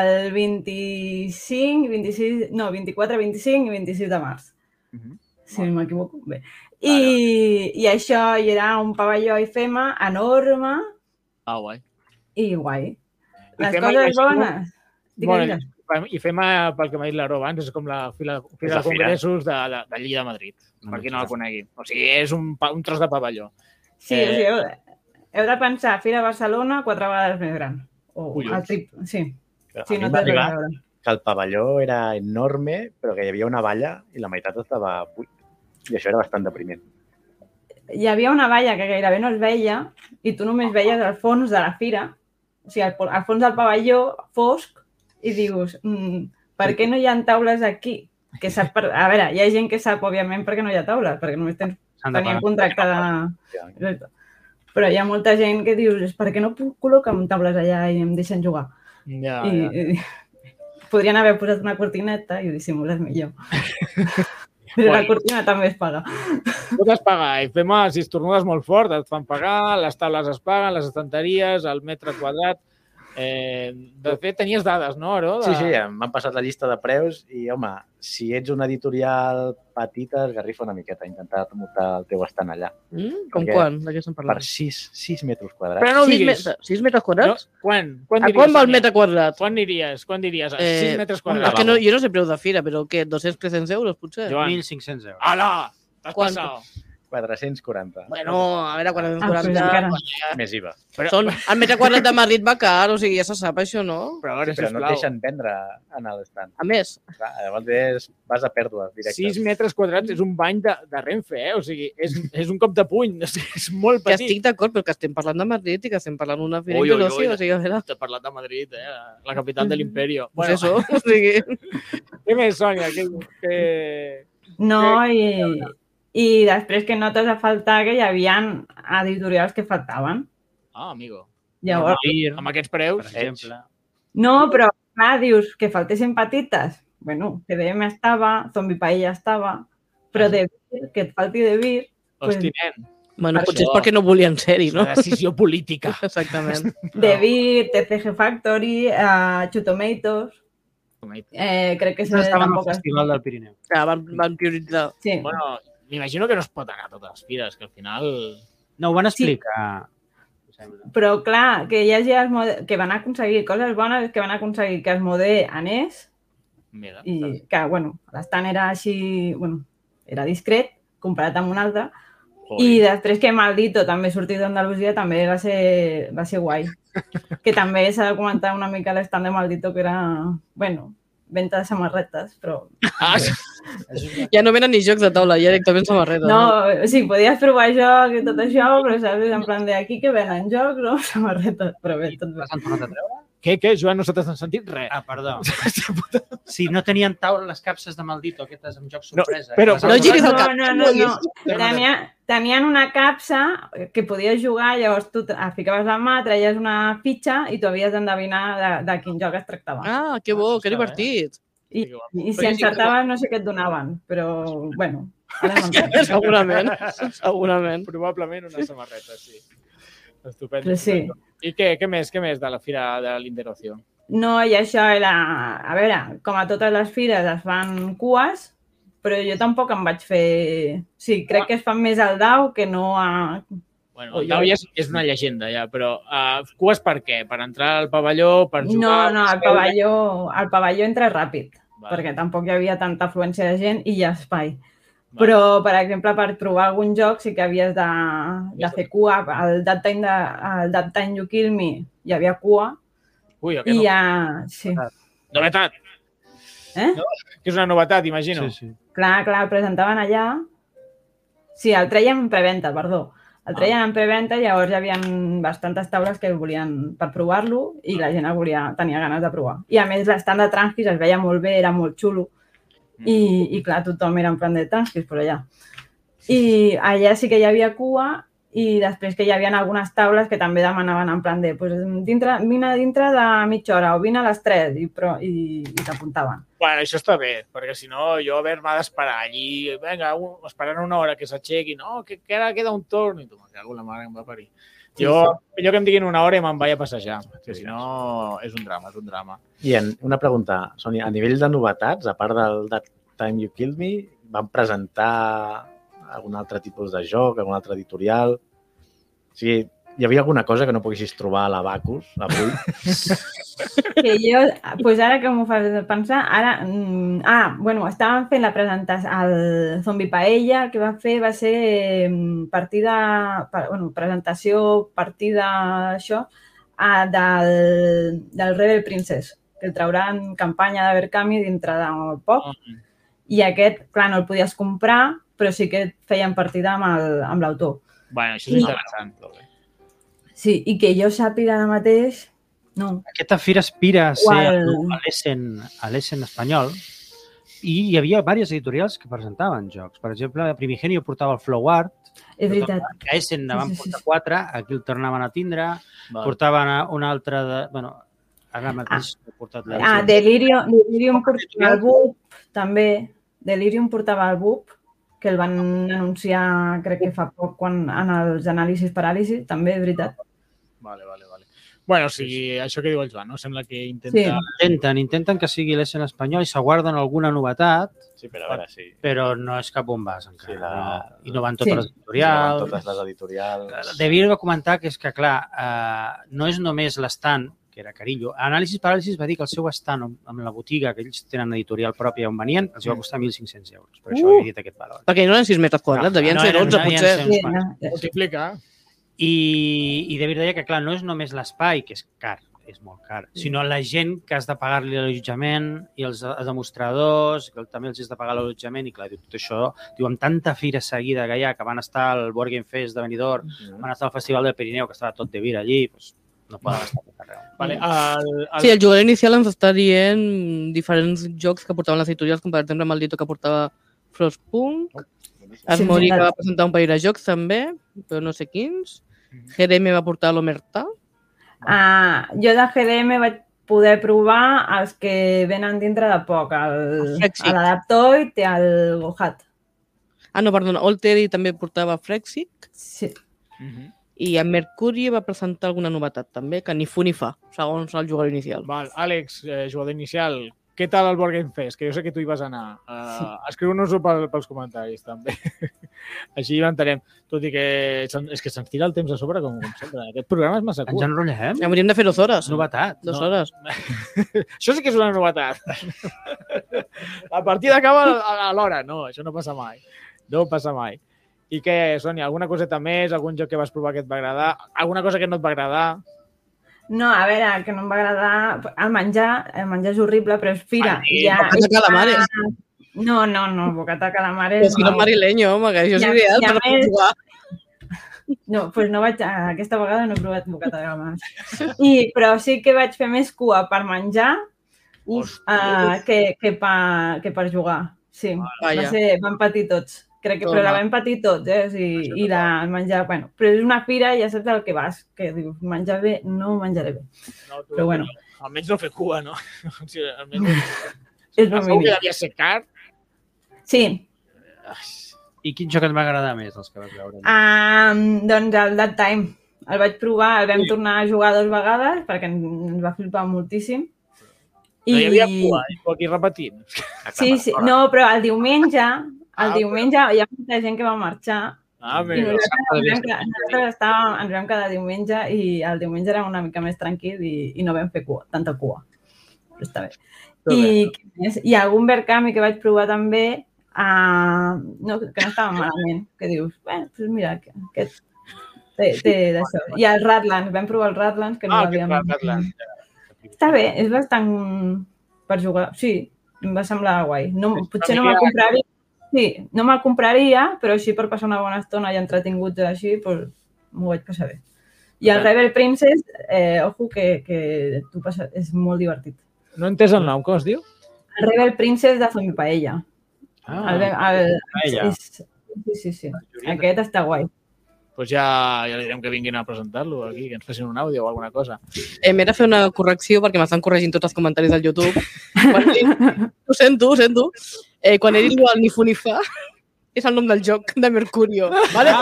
Speaker 6: el 25, 26, no, 24, 25 i 26 de març,
Speaker 1: Mhm.
Speaker 6: si no m'equivoco. Bé. I, I això hi era un pavelló a IFEMA enorme
Speaker 1: Ah, guai.
Speaker 6: i guai. Les
Speaker 1: IFEMA,
Speaker 6: coses
Speaker 1: imagino-
Speaker 6: bones. Digues,
Speaker 1: Bueno,
Speaker 6: digues.
Speaker 1: I fem, eh, pel que m'ha dit l'Aro abans, és com la fila,
Speaker 4: És
Speaker 1: fila
Speaker 4: la
Speaker 1: de congressos de, de, de Lleida de Madrid,
Speaker 2: No
Speaker 1: per
Speaker 2: m'he
Speaker 1: qui no la
Speaker 2: fixat.
Speaker 1: conegui. O sigui, és un, pa- un tros de pavelló.
Speaker 6: Sí,
Speaker 1: eh,
Speaker 6: o sigui, heu, heu de pensar, Fira Barcelona, quatre vegades més gran. O
Speaker 1: Collons.
Speaker 6: el trip, sí.
Speaker 4: A
Speaker 6: Sí,
Speaker 4: mi
Speaker 6: no
Speaker 4: em
Speaker 6: té
Speaker 4: va
Speaker 6: res
Speaker 4: arribar
Speaker 6: a veure.
Speaker 4: que el pavelló era enorme, però que hi havia una valla i la meitat estava buit. I això era bastant depriment.
Speaker 6: hi havia una valla que gairebé no es veia i tu només veies el fons de la fira, o sigui, al, al fons del pavelló, fosc, i dius, mm, per què no hi ha taules aquí? Que sap per... A veure, hi ha gent que sap, òbviament, perquè no hi ha taules, perquè només tens,
Speaker 2: S'han de
Speaker 6: tenien
Speaker 2: pagar.
Speaker 6: contracte de... Però hi ha molta gent que dius, és per què no puc col·locar taules allà i em deixen jugar?
Speaker 1: Ah, Ja,
Speaker 6: I, [LAUGHS] i podrien haver posat una cortineta i ho dissimules millor. Però la
Speaker 1: Bueno.
Speaker 6: cortina també es paga.
Speaker 1: Tot es paga. I fem, eh, si estornudes molt fort, et fan pagar, les taules es paguen, les estanteries, el metre quadrat... Eh, de fet, tenies dades, no, Aro? De...
Speaker 4: Sí, sí, m'han passat la llista de preus i, home, si ets una editorial petita, es garrifa una miqueta intentar muntar el teu estant allà.
Speaker 3: Mm? Com
Speaker 4: Perquè-
Speaker 3: quan? De què estem
Speaker 4: Per
Speaker 3: parlant?
Speaker 4: 6, 6 metres quadrats.
Speaker 1: Però no ho
Speaker 3: 6
Speaker 1: diguis.
Speaker 3: metres, 6 metres quadrats?
Speaker 1: No? Quan? Quan
Speaker 3: a
Speaker 1: diries,
Speaker 3: quan va el
Speaker 1: Sonia?
Speaker 3: metre quadrat?
Speaker 1: Quan diries? Quan diries? A
Speaker 3: Eh,
Speaker 1: 6 metres
Speaker 3: És
Speaker 1: quadrats.
Speaker 3: que no, jo no sé preu de fira, però què, 200-300 euros potser?
Speaker 1: Joan.
Speaker 2: 1.500 euros.
Speaker 1: Ala! T'has
Speaker 3: Quan?
Speaker 1: passat.
Speaker 4: 440.
Speaker 3: Bueno, a veure,
Speaker 6: Ah, però encara.
Speaker 3: 440...
Speaker 4: Més IVA.
Speaker 1: Però,
Speaker 3: Són, el metre quadrat de Madrid va car, o sigui, ja se sap això, no?
Speaker 1: però a veure,
Speaker 4: Però no et
Speaker 1: sisplau.
Speaker 4: deixen vendre en l'estant.
Speaker 3: A més,
Speaker 4: Clar, Llavors és, vas a pèrdues directes.
Speaker 1: 6 metres quadrats és un bany de, de Renfe, eh? O sigui, és, és un cop de puny, [LAUGHS] o sigui, és molt
Speaker 3: que
Speaker 1: petit.
Speaker 3: estic d'acord, però que estem parlant de Madrid i que estem parlant d'una fira
Speaker 5: Ui,
Speaker 3: de
Speaker 5: ui,
Speaker 3: l'oci,
Speaker 5: ui.
Speaker 3: o sigui, a veure,
Speaker 5: T'he parlat de Madrid, eh? La capital de l'imperio.
Speaker 3: bueno.
Speaker 5: Bueno,
Speaker 3: això, o sigui...
Speaker 1: Mm. Què més, Sònia? Que, que...
Speaker 6: No, i, i després que notes a faltar que hi havia editorials que faltaven.
Speaker 5: ah, amigo.
Speaker 6: Llavors,
Speaker 5: Amb aquests
Speaker 2: Per
Speaker 5: preus,
Speaker 2: exemple.
Speaker 6: no, però clar, dius que faltessin petites. Bueno, CDM estava, Zombie Paella estava, però de Vir, que et falti de Vir,
Speaker 5: eh,
Speaker 1: Hosti, nen,
Speaker 3: Bueno,
Speaker 6: Per
Speaker 3: potser
Speaker 5: això.
Speaker 3: és perquè no volien ser-hi,
Speaker 1: no?
Speaker 3: no?
Speaker 1: decisió política.
Speaker 3: [LAUGHS] Exactament.
Speaker 6: de Vir, TCG Factory, uh, Chutomatoes, eh, crec que
Speaker 2: No
Speaker 6: se
Speaker 2: estaven al
Speaker 6: tampoc...
Speaker 2: Festival del Pirineu.
Speaker 3: Que van, van prioritzar.
Speaker 6: Sí.
Speaker 5: Bueno, m'imagino que no es pot anar a totes les fires, que al final...
Speaker 2: No, ho van explicar. em sembla.
Speaker 6: Però clar, que hi hagi Asmode... que van aconseguir coses bones, és que van aconseguir que Asmode anés,
Speaker 5: Mira,
Speaker 6: i que, bueno, l'estant era així, bueno, era discret comparat amb un altre. I després que Maldito també sortit d'Andalusia també va ser, va ser guai. Que també s'ha de comentar una mica l'estant de Maldito que era, bueno, venta de samarretes, però...
Speaker 5: Ah, sí.
Speaker 3: [LAUGHS] Ja no venen ni jocs de taula, ja directament samarreta.
Speaker 6: No, o sigui, podies provar joc i tot això, però saps, en plan de aquí que venen jocs, no? [LAUGHS] Samarretes, però bé, tot va.
Speaker 2: Les han tornat a treure?
Speaker 1: Què, què, Joan? No se t'has sentit res.
Speaker 2: Ah, perdó. Si no tenien taula les capses de Maldito, aquestes amb joc sorpresa.
Speaker 1: però-
Speaker 2: les
Speaker 1: no
Speaker 2: han tornat
Speaker 3: giris
Speaker 2: a
Speaker 3: el
Speaker 2: treure.
Speaker 3: cap.
Speaker 6: No, no, no, no.
Speaker 2: Tornat a treure.
Speaker 6: Tenia, tenien una capsa que podies jugar, llavors tu et ficaves la mà, traies una fitxa i tu havies d'endevinar de, de quin joc es tractava. Ah,
Speaker 3: Ah, que bo, que divertit.
Speaker 6: I,
Speaker 3: Però jo
Speaker 6: I si
Speaker 3: sí que-
Speaker 6: encertaves no sé què et donaven, però bueno. ara
Speaker 3: [LAUGHS]
Speaker 6: no em sap.
Speaker 3: Segurament,
Speaker 1: [LAUGHS]
Speaker 3: segurament.
Speaker 1: Probablement una samarreta, sí. Estupendo.
Speaker 6: Però sí.
Speaker 1: I què, què més, què més de la Fira de l'Interocio?
Speaker 6: No, i això era... A veure, com a totes les fires es fan cues, però jo tampoc em vaig fer... Sí, crec que es fan més al DAO que no a...
Speaker 5: Bueno, el Dau ja és, és una llegenda, ja, però
Speaker 1: eh,
Speaker 5: uh, cues per què? Per entrar al pavelló, per
Speaker 6: No,
Speaker 5: jugar...
Speaker 6: no, al pavelló, al pavelló entra ràpid.
Speaker 5: Vale.
Speaker 6: perquè tampoc hi havia tanta afluència de gent i hi ha espai. Però, per exemple, per trobar algun joc sí que havies de, de fer cua. Al That Time, de, al That Time You Kill Me hi havia cua
Speaker 1: Ui, que
Speaker 6: i
Speaker 1: no.
Speaker 6: ja... Sí.
Speaker 1: Novetat,
Speaker 6: Eh?
Speaker 1: que és una novetat, imagino.
Speaker 2: Sí,
Speaker 1: Sí,
Speaker 2: sí.
Speaker 6: Clar, clar, el presentaven allà. Sí, el treien en preventa, perdó. El treien en preventa, llavors hi havia bastantes taules que volien per provar-lo i la gent el volia, tenia ganes de provar. I a més l'estant de Tranquis es veia molt bé, era molt xulo Mm. i, i clar, tothom era en plan de Tranquis per allà. I allà sí que hi havia cua i després que hi havia algunes taules que també demanaven en plan de pues, dintre, vine dintre de mitja hora o vine a les 3 i, però, i, i t'apuntaven.
Speaker 1: Bueno, això està bé, perquè si no jo a veure m'ha d'esperar allí, vinga, un, esperant una hora que s'aixequi, no, que, que ara queda un torn, i tu, me cago en la mare que em va parir. Jo, millor que em diguin una hora i me'n vaig a passejar, que si no és un drama, és un drama.
Speaker 4: I en, una pregunta, Sònia, a nivell de novetats, a part del That Time You Killed Me, van presentar algun altre tipus de joc, algun altre editorial? O sigui, hi havia alguna cosa que no poguessis trobar a l'Abacus avui?
Speaker 6: que jo, pues ara que m'ho fas pensar, ara... mm, Ah, bueno, estaven fent la presentació al Zombi Paella, el que va fer va ser eh, partida, per, bueno, presentació, partida, això, ah, del, del Rebel Princess, que el trauran campanya de Berkami dintre de poc. I aquest, clar, no el podies comprar, però sí que feien partida amb el- amb l'autor.
Speaker 5: Bueno, això és
Speaker 6: I-
Speaker 5: interessant.
Speaker 6: Sí, i que jo sàpiga ara mateix... No,
Speaker 2: Aquesta fira aspira a ser
Speaker 6: Qual?
Speaker 2: el- a l'Essen- a l'Essen espanyol i hi havia diverses editorials que presentaven jocs. Per exemple, Primigenio portava el Flow Art,
Speaker 6: és veritat.
Speaker 2: que a Essen
Speaker 6: Sí,
Speaker 2: n'avan
Speaker 6: sí, sí.
Speaker 2: portar quatre, aquí el tornaven a tindre,
Speaker 5: Val.
Speaker 2: portaven a- un altre de... Bueno, ara mateix ah. he portat la...
Speaker 6: Ah, Delirium, Delirium portava el BUP, també. Delirium portava el BUP, que el van anunciar, crec que fa poc, quan, en els anàlisis paràlisis, també, és veritat.
Speaker 5: Vale, vale, vale.
Speaker 1: Bueno, o sigui, això que diu el Joan, no? Sembla que
Speaker 6: Sí.
Speaker 1: intenta...
Speaker 2: Intenten, intenten que sigui l'ES en espanyol i s'aguarden alguna novetat,
Speaker 4: [LAUGHS] Sí, però a veure, sí.
Speaker 2: però no és cap bombàs encara. Eh,
Speaker 4: Sí, la-
Speaker 2: I no van totes
Speaker 6: Sí.
Speaker 2: les editorials.
Speaker 4: Totes les editorials.
Speaker 1: Eh,
Speaker 2: De Vir va comentar que és que, clar, eh, no és només l'estant, que era Carillo. Anàlisis Paràlisis va dir que el seu estant amb, amb la botiga, que ells tenen editorial pròpia on venien, els va costar 1.500 euros. Per això
Speaker 1: Uh!
Speaker 2: he dit aquest valor.
Speaker 3: Perquè no eren 6 metres quadrats,
Speaker 2: No,
Speaker 3: devien ser
Speaker 2: eren-
Speaker 3: 12,
Speaker 2: devien
Speaker 3: potser.
Speaker 2: ser-
Speaker 6: Sí, no, ja.
Speaker 1: Multiplica.
Speaker 2: I, i David deia que, clar, no és només l'espai, que és car, és molt car, sinó la gent que has de pagar-li l'allotjament i els, els demostradors, que també els has de pagar l'allotjament, i clar, diu, tot això, diu, amb tanta fira seguida que hi ha, que van estar al Board Game Fest de Benidorm, van estar al Festival del Pirineu, que estava tot de vir allí, doncs, no
Speaker 1: Ah.
Speaker 2: poden estar a tot arreu.
Speaker 1: Vale, el, el,
Speaker 3: Sí, el jugador inicial ens està dient diferents jocs que portaven les editorials, com per exemple Maldito que portava Frostpunk, es
Speaker 6: Sí,
Speaker 3: Mori que
Speaker 6: clar.
Speaker 3: va presentar un parell de jocs també, però no sé quins, Jeremy va portar l'Omerta,
Speaker 6: Ah, jo de GDM vaig poder provar els que venen dintre de poc, el-
Speaker 3: Flexi.
Speaker 6: l'Adaptoid i el Gohat.
Speaker 3: ah no, perdona, Old Teddy també portava Frexic,
Speaker 6: Sí.
Speaker 1: Mhm.
Speaker 3: i en Mercury va presentar alguna novetat també, que ni fu ni fa, segons el jugador inicial.
Speaker 1: Val, Àlex, eh, jugador inicial, què tal el Board Game Fest? Que jo sé que tu hi vas anar. Uh, Escriu-nos-ho pel, pels comentaris, també. [LAUGHS] Així hi entenem. Tot i que se'n- és que se'ns tira el temps a sobre, com, com sempre. Aquest programa és massa
Speaker 2: Ens
Speaker 1: curt.
Speaker 2: enrotllem?
Speaker 3: Hauríem de fer dues hores,
Speaker 2: És eh? novetat.
Speaker 3: dues
Speaker 1: no.
Speaker 3: hores.
Speaker 1: [LAUGHS] Això sí que és una novetat. [LAUGHS] la partida acaba a a l'hora. No, això no passa mai. No passa mai. I què, Sònia, alguna coseta més? Algun joc que vas provar que et va agradar? Alguna cosa que no et va agradar?
Speaker 6: No, a veure, el que no em va agradar el menjar, el menjar és horrible, però és fira.
Speaker 1: Ai,
Speaker 6: ja,
Speaker 3: bocata de calamares.
Speaker 6: Ah, No, no, no, bocata de calamares.
Speaker 3: Però si no marilenyo, home, que això és
Speaker 6: I a-
Speaker 3: ideal
Speaker 6: i a
Speaker 3: per
Speaker 6: més-
Speaker 3: jugar.
Speaker 6: No, pues no vaig, a- aquesta vegada no he provat bocata de calamares. I, però sí que vaig fer més cua per menjar
Speaker 3: Uf,
Speaker 6: uh, que, que, pa, que per jugar. Sí, va
Speaker 3: vaja.
Speaker 6: ser, vam patir tots. Crec que, però la
Speaker 3: Toma.
Speaker 6: vam patir tots, eh? O sigui, I la el menjar, bueno, però és una fira i ja saps el que vas, que dius, menjar bé, no menjaré bé.
Speaker 1: No, tu,
Speaker 6: Però bueno.
Speaker 1: Almenys no fer cua, no? [LAUGHS] O sigui, almenys...
Speaker 6: És el
Speaker 1: Segur
Speaker 6: meu
Speaker 1: que
Speaker 6: dia.
Speaker 1: devia ser car.
Speaker 6: Sí,
Speaker 2: I quin joc et va agradar més, dels que vas veure?
Speaker 1: Ah,
Speaker 6: Um, doncs el That Time. El vaig provar, el vam
Speaker 1: Sí.
Speaker 6: tornar a jugar dues vegades perquè ens va flipar moltíssim.
Speaker 1: I... No hi havia cua, i tu aquí repetint.
Speaker 6: Sí, sí. No, però el diumenge, el
Speaker 1: Ah,
Speaker 6: diumenge hi ha molta gent que va marxar
Speaker 1: Ah,
Speaker 6: i
Speaker 1: mira.
Speaker 6: nosaltres, ens vam quedar- nosaltres estàvem, ens vam quedar diumenge i el diumenge era una mica més tranquil i, i no vam fer cua, tanta cua. Però està bé.
Speaker 1: Està bé.
Speaker 6: I, què més? I algun verkami que vaig provar també uh, no, que no estava malament, que dius, bueno, doncs mira, que- aquest té, té d'això. I el Ratland, vam provar el Ratland, que no
Speaker 1: Ah, aquest
Speaker 6: l'havíem...
Speaker 1: Ratland.
Speaker 6: Està bé, és bastant per jugar, sí, em va semblar guai. No, potser no me'l compraria, sí, no me'l compraria, però així per passar una bona estona i entretinguts així, doncs m'ho vaig passar bé. I el Rebel Princess, eh, ojo, que, que tu passa, és molt divertit.
Speaker 1: No he entès el nom, com es diu?
Speaker 6: El Rebel Princess de Zombie Paella.
Speaker 2: Ah,
Speaker 6: El, el,
Speaker 2: Paella. Ah,
Speaker 6: és, sí, sí, sí. Aquest està guai.
Speaker 1: Doncs pues ja, ja li direm que vinguin a presentar-lo aquí, que ens facin un àudio o alguna cosa.
Speaker 3: Eh, M'he de fer una correcció perquè m'estan corregint tots els comentaris del YouTube. Quan he dit, ho sento, ho sento. Eh, quan he dit el ni fu ni fa, és el nom del joc de Mercurio. Vale?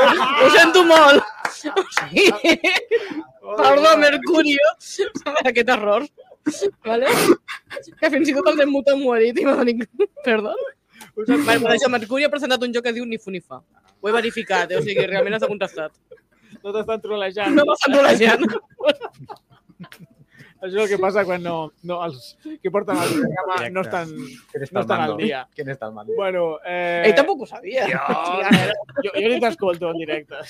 Speaker 3: Ho sento molt. Sí. Perdó, Mercurio, per aquest error. Vale? Que fins i tot el Demut m'ho ha dit i m'ha dit... Perdó. Vale, per això, Mercurio ha presentat un joc que diu ni fu ni fa. Ho he verificat, eh? o sigui, realment has contestat.
Speaker 1: No t'estan trolejant.
Speaker 3: No m'estan trolejant.
Speaker 1: Això és el que passa quan no, no els que porten el programa no estan... No estan al dia.
Speaker 4: Qui està al mando?
Speaker 1: Bueno, eh... oh,
Speaker 3: Ell tampoc ho sabia.
Speaker 1: Jo, jo ni t'escolto en [LAUGHS] directe.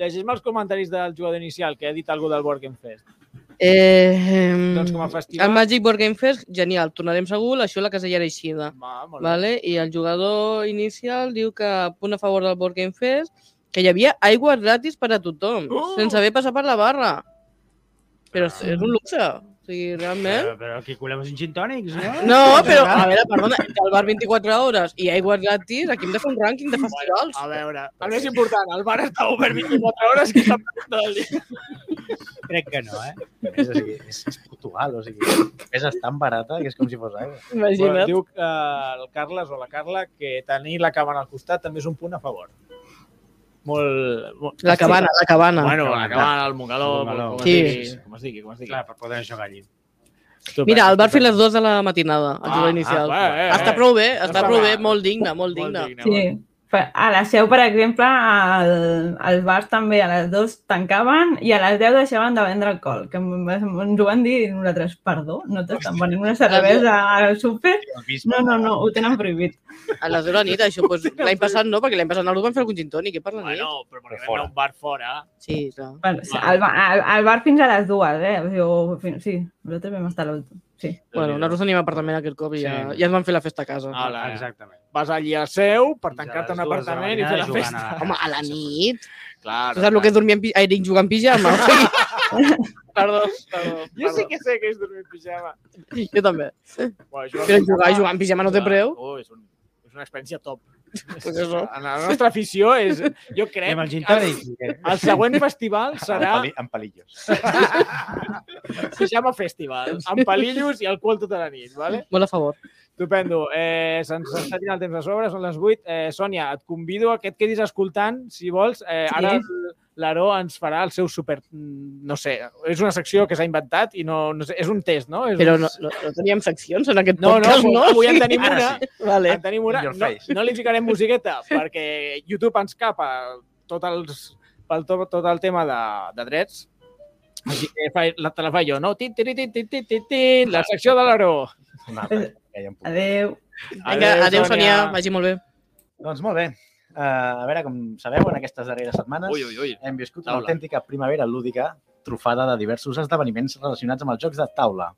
Speaker 1: Llegeix-me els comentaris del jugador inicial, que ha dit alguna del Board Game Fest.
Speaker 3: Eh, em,
Speaker 1: Doncs com a festival-
Speaker 3: El Magic Board Game Fest, genial, tornarem segur, això la casellera eixida.
Speaker 1: Va, molt bé.
Speaker 3: Vale? I el jugador inicial diu que punt a favor del Board Game Fest, que hi havia aigua gratis per a tothom,
Speaker 1: Oh!
Speaker 3: sense haver passat per la barra. Però és, és un luxe, o sigui, realment...
Speaker 2: Però, però aquí colem uns gin tònics, no?
Speaker 3: No, però, a veure, perdona, entre el bar 24 hores i aigua gratis, aquí hem de fer un rànquing de festivals.
Speaker 1: A veure, el més important, el bar està obert 24 hores que està pregunta del dia.
Speaker 2: Crec que no, eh?
Speaker 4: És, o sigui, és, és Portugal, o sigui, és tan barata que és com si fos aigua.
Speaker 1: Bueno,
Speaker 3: Imagina't.
Speaker 1: diu eh, el Carles o la Carla que tenir la càmera al costat també és un punt a favor. molt... molt
Speaker 3: La cabana, la cabana.
Speaker 1: Bueno, la cabana, el Montgaló,
Speaker 2: Montgaló.
Speaker 1: com, es
Speaker 3: Sí.
Speaker 1: digui, com es digui, com es digui.
Speaker 2: Clar, per poder jugar allí.
Speaker 1: Estupendo,
Speaker 3: Mira, el bar fins
Speaker 1: estupendo.
Speaker 3: les 2 de la matinada, el
Speaker 1: Ah,
Speaker 3: jugador inicial.
Speaker 1: ah, va, eh,
Speaker 3: està
Speaker 1: eh.
Speaker 3: prou bé,
Speaker 1: Està
Speaker 3: està prou bé,
Speaker 1: va.
Speaker 3: molt digne, molt digne.
Speaker 1: molt
Speaker 6: Sí. Per- A la seu, per exemple, al, al bar també a les 2 tancaven i a les 10 deixaven de vendre alcohol, que em- ens ho van dir i nosaltres, perdó, no t'estan venent una cervesa al súper? No, no, no, ho tenen prohibit.
Speaker 3: A les 10 de la nit, això, doncs, l'any passat no, perquè l'any passat no van fer algun gin tònic, eh, per la nit.
Speaker 1: Bueno, però perquè
Speaker 4: Fora.
Speaker 1: vam anar a un bar fora.
Speaker 3: Sí, clar.
Speaker 6: Al, al, al bar fins a les dues, eh? O sigui, o fins, sí, nosaltres vam estar a l'últim. Sí.
Speaker 3: Bueno, nosaltres tenim apartament aquest cop i ja,
Speaker 2: Sí.
Speaker 3: ja ens van fer la festa a casa.
Speaker 1: Ah, la-
Speaker 2: Exactament.
Speaker 1: Vas allí a seu per
Speaker 2: Fins a
Speaker 1: tancar-te
Speaker 2: les
Speaker 1: un
Speaker 2: dues de la
Speaker 1: apartament i fer
Speaker 2: matinada
Speaker 1: la
Speaker 2: jugant
Speaker 1: festa.
Speaker 2: a-
Speaker 3: Home, a la nit.
Speaker 1: Clar.
Speaker 3: Tu saps el que és dormir en pi... Ai, dic, jugar en pijama? perdó, perdó.
Speaker 1: Jo sí que sé que és dormir en pijama.
Speaker 3: Jo també.
Speaker 1: Bueno,
Speaker 3: Però jugar, jugar en pijama no té preu.
Speaker 1: Oh, és, un, és una experiència top.
Speaker 3: Pues això.
Speaker 1: [LAUGHS] En la nostra afició és... Jo
Speaker 2: I
Speaker 1: crec
Speaker 2: amb el gin
Speaker 1: que el,
Speaker 2: tònic. eh?
Speaker 3: [LAUGHS]
Speaker 1: el següent festival serà
Speaker 4: Amb, pali- amb [LAUGHS] palillos.
Speaker 1: Pijama Festival, amb palillos i alcohol tota la nit. Vale?
Speaker 3: Molt a favor.
Speaker 1: Estupendo. Eh, Se'ns està tirant el temps a sobre, són les 8. Eh, Sònia, et convido a que et quedis escoltant, si vols. Eh,
Speaker 6: Sí.
Speaker 1: ara el- l'Aro ens farà el seu super... No sé, és una secció que s'ha inventat i no, no sé, és un test, no? És
Speaker 3: Però
Speaker 1: un...
Speaker 3: no, no, no teníem seccions en aquest
Speaker 1: No, no,
Speaker 3: podcast, no?
Speaker 1: avui en
Speaker 3: Sí.
Speaker 1: tenim
Speaker 4: Ara
Speaker 1: una.
Speaker 4: sí.
Speaker 3: [LAUGHS] Vale.
Speaker 1: En tenim una.
Speaker 4: In your
Speaker 1: No,
Speaker 4: face.
Speaker 1: no li ficarem
Speaker 4: [LAUGHS]
Speaker 1: musiqueta perquè YouTube ens capa tot els, pel to, tot el tema de, de drets. Així que fa, la, te la faig jo, no? Tin, tin, tin, tin, tin, tin, tin, la secció de l'Aro.
Speaker 4: Una altra, que ja em puc.
Speaker 6: Adéu.
Speaker 3: Vinga, adéu, Sònia. Vagi molt bé.
Speaker 4: Doncs molt bé. Eh, a veure, com sabeu, en aquestes darreres setmanes
Speaker 1: Ui, ui, ui.
Speaker 4: hem viscut una
Speaker 1: Taula.
Speaker 4: autèntica primavera lúdica trufada de diversos esdeveniments relacionats amb els jocs de taula.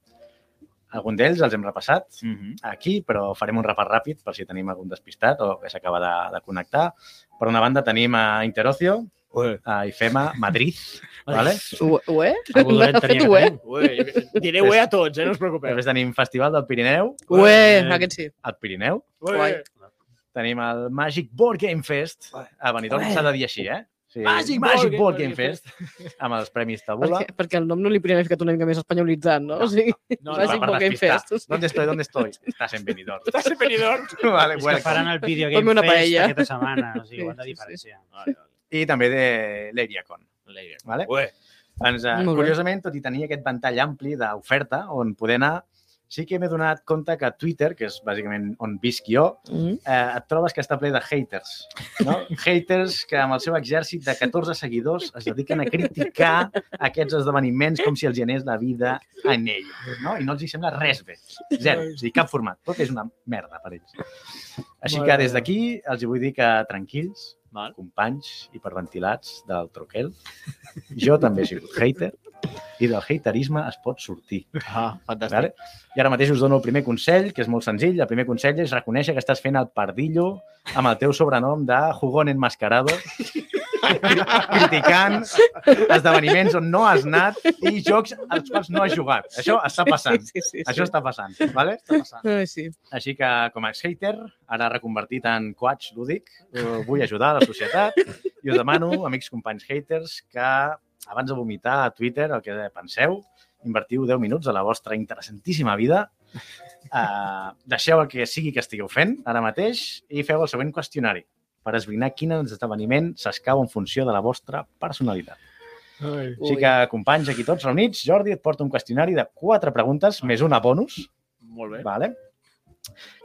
Speaker 4: Algun d'ells els hem repassat
Speaker 1: Mhm.
Speaker 4: aquí, però farem un repàs ràpid per si tenim algun despistat o que s'acaba de, de connectar. Per una banda tenim a Interocio,
Speaker 1: Ué.
Speaker 4: a IFEMA,
Speaker 1: [LAUGHS]
Speaker 4: Madrid, vale?
Speaker 3: Ué?
Speaker 2: Algú
Speaker 3: M'ha
Speaker 2: dolent
Speaker 3: fet
Speaker 2: tenia que
Speaker 3: ué?
Speaker 2: tenir.
Speaker 1: Ué, diré ué a tots, eh? No us preocupeu.
Speaker 4: Després tenim Festival del Pirineu,
Speaker 3: Ué, aquest sí.
Speaker 4: al Pirineu.
Speaker 1: Ué.
Speaker 4: Tenim el Magic Board Game Fest. A Benidorm s'ha de dir així, eh? Sí.
Speaker 1: Magic Board
Speaker 4: Magic Board
Speaker 1: Game
Speaker 4: Game Fest. Amb els premis Tabula.
Speaker 3: Perquè, perquè el nom no li podríem haver ficat una mica més espanyolitzant, no? O sigui,
Speaker 1: No,
Speaker 3: Magic
Speaker 1: no,
Speaker 4: per
Speaker 3: Board Game
Speaker 4: despistar.
Speaker 3: Fest, o sigui.
Speaker 4: [LAUGHS] ¿Dónde estoy? ¿Dónde estoy? Estás en
Speaker 1: [LAUGHS]
Speaker 4: Benidorm.
Speaker 1: Estàs en Benidorm.
Speaker 4: vale,
Speaker 2: És que faran
Speaker 4: welcome.
Speaker 2: el Video
Speaker 3: Ponme
Speaker 2: Game
Speaker 3: una
Speaker 2: Fest
Speaker 3: paella.
Speaker 2: aquesta setmana, o
Speaker 3: [LAUGHS]
Speaker 2: sigui,
Speaker 3: Sí,
Speaker 2: ho hem de
Speaker 3: sí, sí.
Speaker 2: diferenciar.
Speaker 4: I també de l'Eriacon. Vale?
Speaker 1: Ué.
Speaker 4: Doncs, eh,
Speaker 3: Molt bé.
Speaker 4: curiosament, tot i tenir aquest ventall ampli d'oferta on poder anar, sí que m'he donat compte que Twitter, que és bàsicament on visc jo,
Speaker 3: Mm.
Speaker 4: eh, et trobes que està ple de haters. No? Haters que amb el seu exèrcit de 14 seguidors es dediquen a criticar aquests esdeveniments com si els hi anés la vida en ell. No? I no els hi sembla res bé. Zero. O sigui, cap format. Tot és una merda per ells. Així que des d'aquí els hi vull dir que tranquils,
Speaker 1: Val.
Speaker 4: companys hiperventilats del Troquel, jo també he sigut hater i del haterisme es pot sortir.
Speaker 1: Ah, fantàstic.
Speaker 4: Vale? I ara mateix us dono el primer consell, que és molt senzill. El primer consell és reconèixer que estàs fent el pardillo amb el teu sobrenom de jugón enmascarado, [LAUGHS] criticant esdeveniments on no has anat i jocs als quals no has jugat. Això està passant.
Speaker 3: Sí, sí, sí, sí.
Speaker 4: Això està passant, vale?
Speaker 3: Ai, sí.
Speaker 4: Així que, com a hater, ara reconvertit en coach lúdic, eh, vull ajudar a la societat i us demano, amics companys haters, que abans de vomitar a Twitter el que penseu, invertiu 10 minuts de la vostra interessantíssima vida, eh, deixeu el que sigui que estigueu fent ara mateix i feu el següent qüestionari per esbrinar quin esdeveniment s'escau en funció de la vostra personalitat. Així
Speaker 3: Ui.
Speaker 4: que, companys, aquí tots reunits, Jordi et porta un qüestionari de quatre preguntes, més una bonus,
Speaker 1: Molt bé.
Speaker 4: Vale.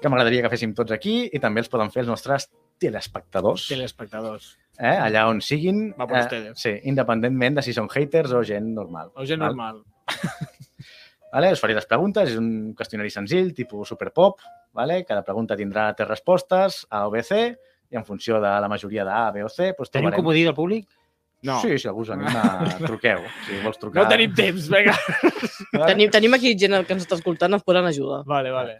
Speaker 4: Que m'agradaria que féssim tots aquí i també els poden fer els nostres telespectadors,
Speaker 1: Telespectadors.
Speaker 4: eh? allà on siguin, eh,
Speaker 1: Va por ustedes.
Speaker 4: sí, independentment de si són haters o gent normal.
Speaker 1: O gent
Speaker 4: Val.
Speaker 1: normal.
Speaker 4: Vale? Us faré les preguntes, és un qüestionari senzill, tipus superpop, vale? cada pregunta tindrà tres respostes, A o B, C, i en funció de la majoria d'A, B o C, doncs
Speaker 2: Tenim
Speaker 4: trobarem...
Speaker 2: comodí del públic?
Speaker 1: No.
Speaker 4: Sí, si algú us anima,
Speaker 1: [LAUGHS]
Speaker 4: truqueu. Si vols trucar...
Speaker 1: No tenim temps, vinga.
Speaker 4: Vale?
Speaker 3: Tenim, tenim aquí gent que ens està escoltant, ens podran ajudar.
Speaker 1: Vale, vale.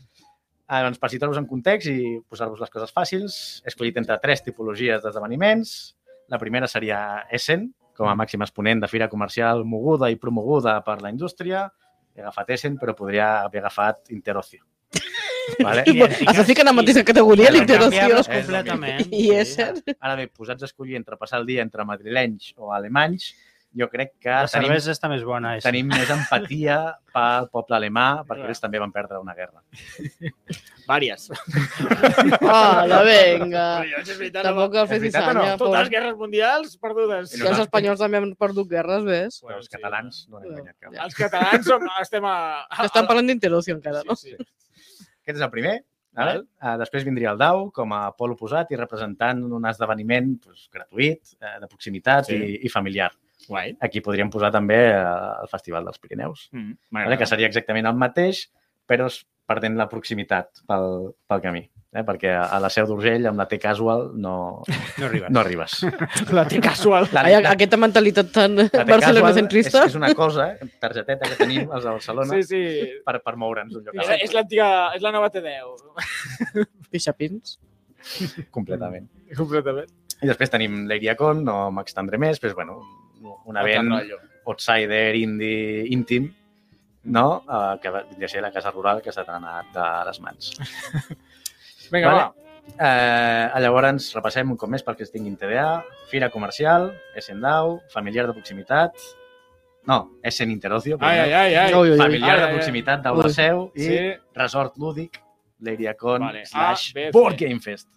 Speaker 4: Ah, doncs, per situar-vos en context i posar-vos les coses fàcils, he escollit entre tres tipologies d'esdeveniments. La primera seria Essen, com a màxim exponent de fira comercial moguda i promoguda per la indústria. He agafat Essen, però podria haver agafat Interocio. Vale?
Speaker 3: Es fiquen en la mateixa categoria, l'interació.
Speaker 2: [LAUGHS]
Speaker 3: [LAUGHS]
Speaker 4: canviar.
Speaker 2: Completament.
Speaker 3: I és cert.
Speaker 4: Ara bé, posats a escollir entre passar el dia entre madrilenys o alemanys, jo crec que
Speaker 2: La
Speaker 4: tenim,
Speaker 2: cervesa està més bona. És.
Speaker 4: tenim més empatia pel poble alemà, perquè ells també van perdre una guerra.
Speaker 1: Vàries.
Speaker 3: Hola, Ah,
Speaker 4: [LAUGHS]
Speaker 3: venga.
Speaker 1: Vàries, és veritat.
Speaker 3: Tampoc el fes
Speaker 4: veritat o no?
Speaker 3: dissanya.
Speaker 1: Totes les
Speaker 3: pobres.
Speaker 1: guerres mundials perdudes.
Speaker 3: I els espanyols també han perdut guerres, ves?
Speaker 4: Però els catalans no han guanyat cap.
Speaker 1: Els catalans som, estem a...
Speaker 4: Ah,
Speaker 1: a
Speaker 3: Estan parlant d'Interozio encara, no?
Speaker 1: Sí, sí.
Speaker 4: Aquest és el primer. Vale.
Speaker 1: Val.
Speaker 4: Uh, després vindria el Dau com a pol oposat i representant un esdeveniment doncs, gratuït, eh, de proximitat
Speaker 1: Sí.
Speaker 4: sí. i, i familiar.
Speaker 1: Guai.
Speaker 4: Aquí podríem posar també eh, el Festival dels Pirineus,
Speaker 1: Mm,
Speaker 4: vale?
Speaker 1: M'agrada.
Speaker 4: que seria exactament el mateix, però es perdent la proximitat pel, pel camí. Eh? Perquè a la Seu d'Urgell, amb la T-Casual, no,
Speaker 2: No
Speaker 3: [LAUGHS]
Speaker 2: arribes.
Speaker 4: no arribes.
Speaker 1: [LAUGHS] La té casual.
Speaker 4: La,
Speaker 3: Ai, aquesta mentalitat tan
Speaker 4: la T-Casual
Speaker 3: barcelonacentrista.
Speaker 4: És, és una cosa, targeteta que tenim els de Barcelona,
Speaker 1: Sí,
Speaker 4: sí,
Speaker 1: sí.
Speaker 4: sí. per, per moure'ns d'un lloc a
Speaker 1: És,
Speaker 4: l'altre.
Speaker 1: és l'antiga... És la nova T10.
Speaker 3: Pixapins.
Speaker 4: Completament.
Speaker 1: [LAUGHS] Completament.
Speaker 4: I després tenim l'Eriacon, no m'extendré més, però és, bueno, un event outsider, indie, íntim, no? Eh, que vindria a ser la casa rural que s'ha anat de les mans.
Speaker 1: Vinga,
Speaker 4: Vale.
Speaker 1: va.
Speaker 4: Eh, llavors, repassem un cop més perquè es tinguin TDA, Fira Comercial, Essendau, Familiar de Proximitat, no, Essen Interocio,
Speaker 1: Ai, ai, ai, ai.
Speaker 3: Ui, ui, ui.
Speaker 1: Ai,
Speaker 4: Familiar
Speaker 1: ai,
Speaker 4: de
Speaker 1: ai.
Speaker 4: Proximitat, Daula
Speaker 3: Ui.
Speaker 4: Seu i
Speaker 1: Sí.
Speaker 4: Resort Lúdic, l'Eriacon
Speaker 1: Vale. Ah,
Speaker 4: vale. slash
Speaker 1: A, B, C.
Speaker 4: Board Game Fest.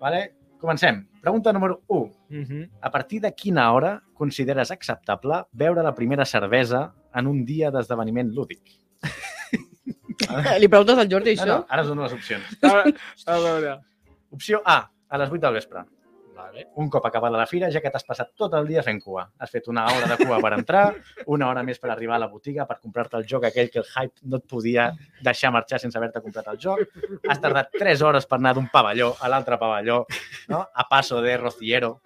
Speaker 4: Vale? Comencem. Pregunta número 1.
Speaker 1: Mhm.
Speaker 4: A partir de quina hora consideres acceptable beure la primera cervesa en un dia d'esdeveniment lúdic?
Speaker 3: Eh, Li preguntes al Jordi
Speaker 4: No,
Speaker 3: això?
Speaker 4: no, ara us dono les opcions.
Speaker 1: A veure, a veure.
Speaker 4: Opció A, a les 8 del vespre.
Speaker 1: Vale.
Speaker 4: Un cop acabada la fira, ja que t'has passat tot el dia fent cua. Has fet una hora de cua per entrar, una hora més per arribar a la botiga per comprar-te el joc aquell que el hype no et podia deixar marxar sense haver-te comprat el joc. Has tardat 3 hores per anar d'un pavelló a l'altre pavelló, no? a passo de Rociero,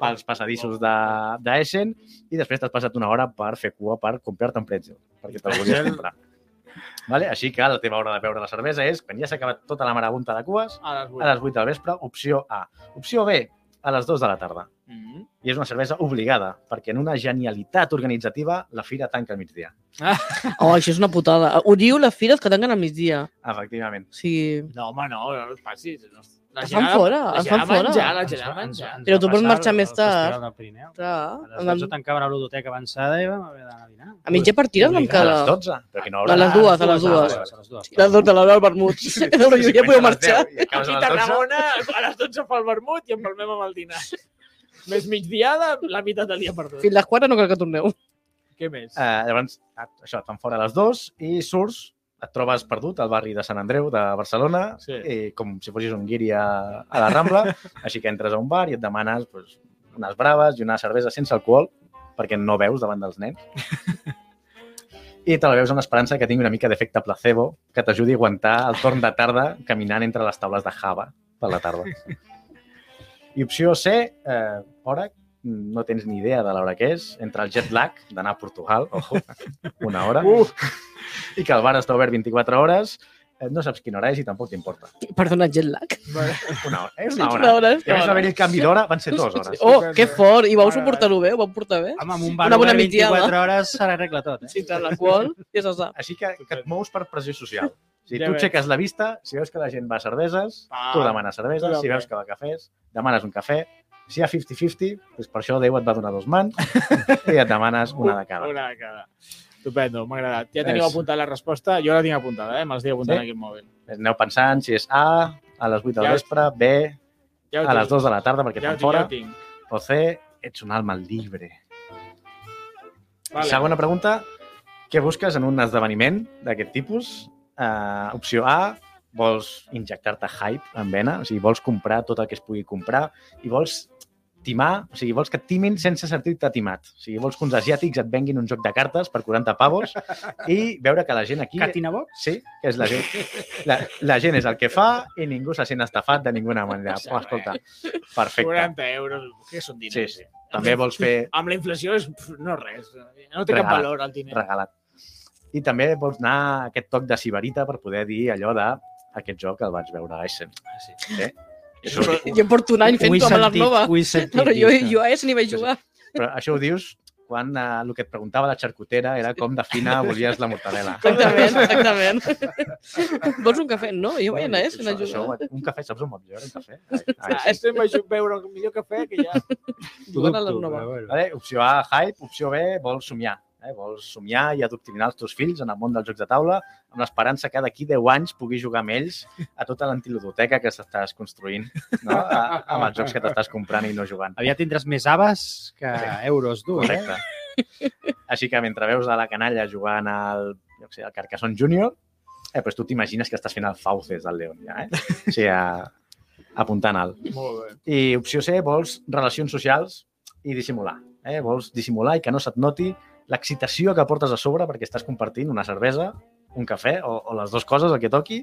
Speaker 4: pels passadissos de- d'Essen, i després t'has passat una hora per fer cua per comprar-te un pretzel, perquè te'l volies comprar. Vale? Així que la teva hora de beure la cervesa és quan ja s'ha acabat tota la marabunta de cues,
Speaker 1: A les 8.
Speaker 4: a les 8 del vespre, opció A. Opció B, a les 2 de la tarda.
Speaker 1: Mhm.
Speaker 4: I és una cervesa obligada, perquè en una genialitat organitzativa la fira tanca al migdia.
Speaker 3: Oh, això és una putada. Ho diu les fires que tanquen al migdia.
Speaker 4: Efectivament.
Speaker 3: O sigui...
Speaker 1: No, home, no, no els passis. No. La
Speaker 3: Es fan fora,
Speaker 1: la
Speaker 3: es
Speaker 1: gent
Speaker 3: fan
Speaker 1: ha de
Speaker 3: fora.
Speaker 1: Menjar, la gent ha de menjar.
Speaker 3: Però tu pots marxar més tard.
Speaker 2: A
Speaker 3: clar,
Speaker 2: les 12 tancava la ludoteca avançada i vam haver d'anar a dinar.
Speaker 3: A mitja partida vam
Speaker 4: A
Speaker 3: quedar.
Speaker 4: les 12, però que no
Speaker 3: A les dues, a les dues.
Speaker 2: Ah, A les dues, a les dues.
Speaker 3: Les dues de l'hora del vermut. Però [LAUGHS] jo ja podeu marxar.
Speaker 1: Aquí a
Speaker 4: Tarragona.
Speaker 1: Tarragona, a les 12 fa el vermut i empalmem amb el
Speaker 3: [LAUGHS]
Speaker 1: dinar. Més migdiada, la meitat del dia perdut.
Speaker 3: Fins les 4 no cal que torneu.
Speaker 1: Què més?
Speaker 4: Eh, llavors, et- això, et fan fora a les 2 i surts, et trobes perdut al barri de Sant Andreu de Barcelona,
Speaker 1: Sí.
Speaker 4: sí. i com si fossis un guiri a, a la
Speaker 1: [LAUGHS]
Speaker 4: Rambla, així que entres a un bar i et demanes pues, unes braves i una cervesa sense alcohol, perquè no veus davant
Speaker 1: [LAUGHS]
Speaker 4: dels nens. I te la veus amb l'esperança que tingui una mica d'efecte placebo que t'ajudi a aguantar el torn de tarda caminant entre les taules de Java per la tarda. I opció C, eh, hora, no tens ni idea de l'hora que és, entre el jet lag d'anar a Portugal, ojo, una hora,
Speaker 1: Uh.
Speaker 4: i que el bar està obert 24 hores, eh, no saps quina hora és i tampoc t'importa.
Speaker 3: Perdona, jet lag.
Speaker 4: Una hora, és una
Speaker 3: Una
Speaker 4: hora.
Speaker 3: hora.
Speaker 4: I a més va haver el canvi d'hora, van ser dues hores.
Speaker 3: Oh, que fort. I vau suportar-ho bé? Ho vau portar
Speaker 4: Eh?
Speaker 3: bé?
Speaker 2: Home, amb un bar
Speaker 3: Una bona
Speaker 2: obert
Speaker 3: mitjana.
Speaker 2: 24 hores se l'arregla tot. Eh?
Speaker 3: Sí, tal qual. Ja se sap.
Speaker 4: Així que, que et mous per pressió social. Si
Speaker 1: Ja
Speaker 4: tu
Speaker 1: veig.
Speaker 4: aixeques la vista, si veus que la gent va a cerveses,
Speaker 1: Ah,
Speaker 4: tu demanes cerveses, si
Speaker 1: totalment.
Speaker 4: veus que va a cafès, demanes un cafè. Si hi ha 50-50, doncs per això Déu et va donar dos mans i et demanes una de cada.
Speaker 1: Una de cada. Estupendo, m'ha agradat. Ja teniu
Speaker 4: És.
Speaker 1: apuntada la resposta. Jo la tinc apuntada, eh? Me l'estic apuntant
Speaker 4: Sí?
Speaker 1: aquí al mòbil.
Speaker 4: Aneu pensant si és A, a les 8 del
Speaker 1: Ja ho-
Speaker 4: vespre, B,
Speaker 1: Ja ho
Speaker 4: a
Speaker 1: tinc.
Speaker 4: les 2 de la tarda perquè
Speaker 1: ja ho
Speaker 4: estan
Speaker 1: tinc,
Speaker 4: fora,
Speaker 1: Ja ho tinc.
Speaker 4: o C, ets un alma llibre.
Speaker 1: Vale.
Speaker 4: Segona pregunta, què busques en un esdeveniment d'aquest tipus? Uh, opció A, vols injectar-te hype en vena, o sigui, vols comprar tot el que es pugui comprar i vols timar, o sigui, vols que et timin sense sentir-te timat. O sigui, vols que uns asiàtics et venguin un joc de cartes per 40 pavos i veure que la gent aquí...
Speaker 2: Catina Bob?
Speaker 4: Sí, que és la gent. La, la gent és el que fa i ningú se sent estafat de ninguna manera. Oh, escolta, perfecte.
Speaker 1: 40 euros, que són diners. Eh?
Speaker 4: Sí, sí. També vols fer
Speaker 1: Amb la inflació és pf, no res. No té cap
Speaker 4: Regala.
Speaker 1: valor el diner.
Speaker 4: regalat. I també vols anar a aquest toc de Sibarita per poder dir allò de aquest joc el vaig veure a Essen. Sí. Això, [LAUGHS]
Speaker 3: Jo porto un any fent-ho amb la nova.
Speaker 2: Ho he sentit.
Speaker 3: Però jo,
Speaker 2: dir això.
Speaker 3: jo a Essen hi vaig jugar.
Speaker 4: però això ho dius quan eh, el que et preguntava la xarcutera era com de fina volies la mortadela.
Speaker 3: Exactament, exactament. [LAUGHS] Vols un cafè? No, jo vaig anar, eh, si
Speaker 4: Això- això,
Speaker 3: n'ajuda.
Speaker 4: Un cafè, saps on va millor un cafè? Ai, ai,
Speaker 5: Ah, és sempre beure un millor cafè que ja...
Speaker 3: Jugant a la nova.
Speaker 4: Vale? Opció A, hype. Opció B, vols somiar. Eh? Vols somiar i adoctrinar els teus fills en el món dels jocs de taula amb l'esperança que d'aquí 10 anys puguis jugar amb ells a tota l'antiludoteca que t'estàs construint no? a, amb els jocs que t'estàs comprant i no jugant.
Speaker 2: Aviat tindràs més aves que euros, tu. Eh?
Speaker 4: Correcte. Així que mentre veus a la canalla jugant al, jo què sé, al Carcassonne Junior, eh, doncs tu t'imagines que estàs fent el Fauces del León, ja, eh? O sigui, a, apuntant alt.
Speaker 5: Molt bé.
Speaker 4: I opció C, vols relacions socials i dissimular. Eh? Vols dissimular i que no se't noti l'excitació que portes a sobre perquè estàs compartint una cervesa, un cafè o, o les dues coses, el que toqui,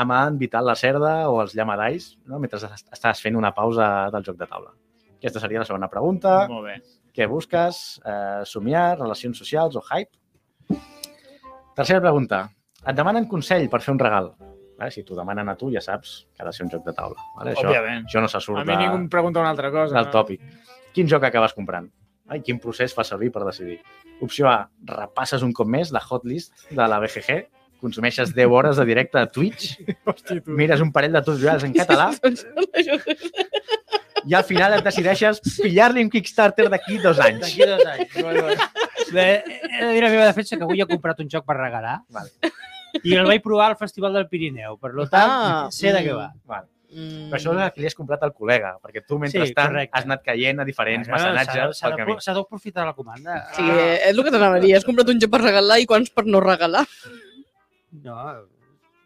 Speaker 4: amb en Vital la Cerda o els Llamadais, no? mentre es- estàs fent una pausa del joc de taula. Aquesta seria la segona pregunta.
Speaker 5: Molt bé.
Speaker 4: Què busques? Eh, somiar, relacions socials o hype? Tercera pregunta. Et demanen consell per fer un regal. Vale? Si t'ho demanen a tu, ja saps que ha de ser un joc de taula. Vale? Això,
Speaker 5: Òbviament.
Speaker 4: això no se
Speaker 5: A
Speaker 4: surt
Speaker 5: mi ningú em pregunta una altra cosa.
Speaker 4: del tòpic. Quin joc acabes comprant? Ai, quin procés fa servir per decidir? Opció A, repasses un cop més la hotlist de la BGG, consumeixes 10 hores de directe a Twitch, mires un parell de tutorials en català
Speaker 3: [LAUGHS] Doncs
Speaker 4: i al final et decideixes pillar-li un Kickstarter d'aquí dos anys.
Speaker 2: D'aquí dos [LAUGHS] anys. Bé, he de dir la meva defensa que avui he comprat un joc per regalar
Speaker 4: Vale.
Speaker 2: i el vaig provar al Festival del Pirineu. Per lo tant,
Speaker 3: Ah,
Speaker 2: sé de què
Speaker 3: mm.
Speaker 2: va.
Speaker 4: Vale.
Speaker 3: Mm.
Speaker 4: Però això és el que li has comprat al col·lega, perquè tu, mentrestant,
Speaker 2: correcte.
Speaker 4: has anat caient a diferents
Speaker 2: Bueno, s'ha de-
Speaker 4: mecenatges
Speaker 2: s'ha
Speaker 4: al
Speaker 2: de-
Speaker 4: camí.
Speaker 2: S'ha d'aprofitar la comanda.
Speaker 3: Sí, és el que t'anava a dir. Has comprat un joc per regalar i quants per no regalar.
Speaker 2: No,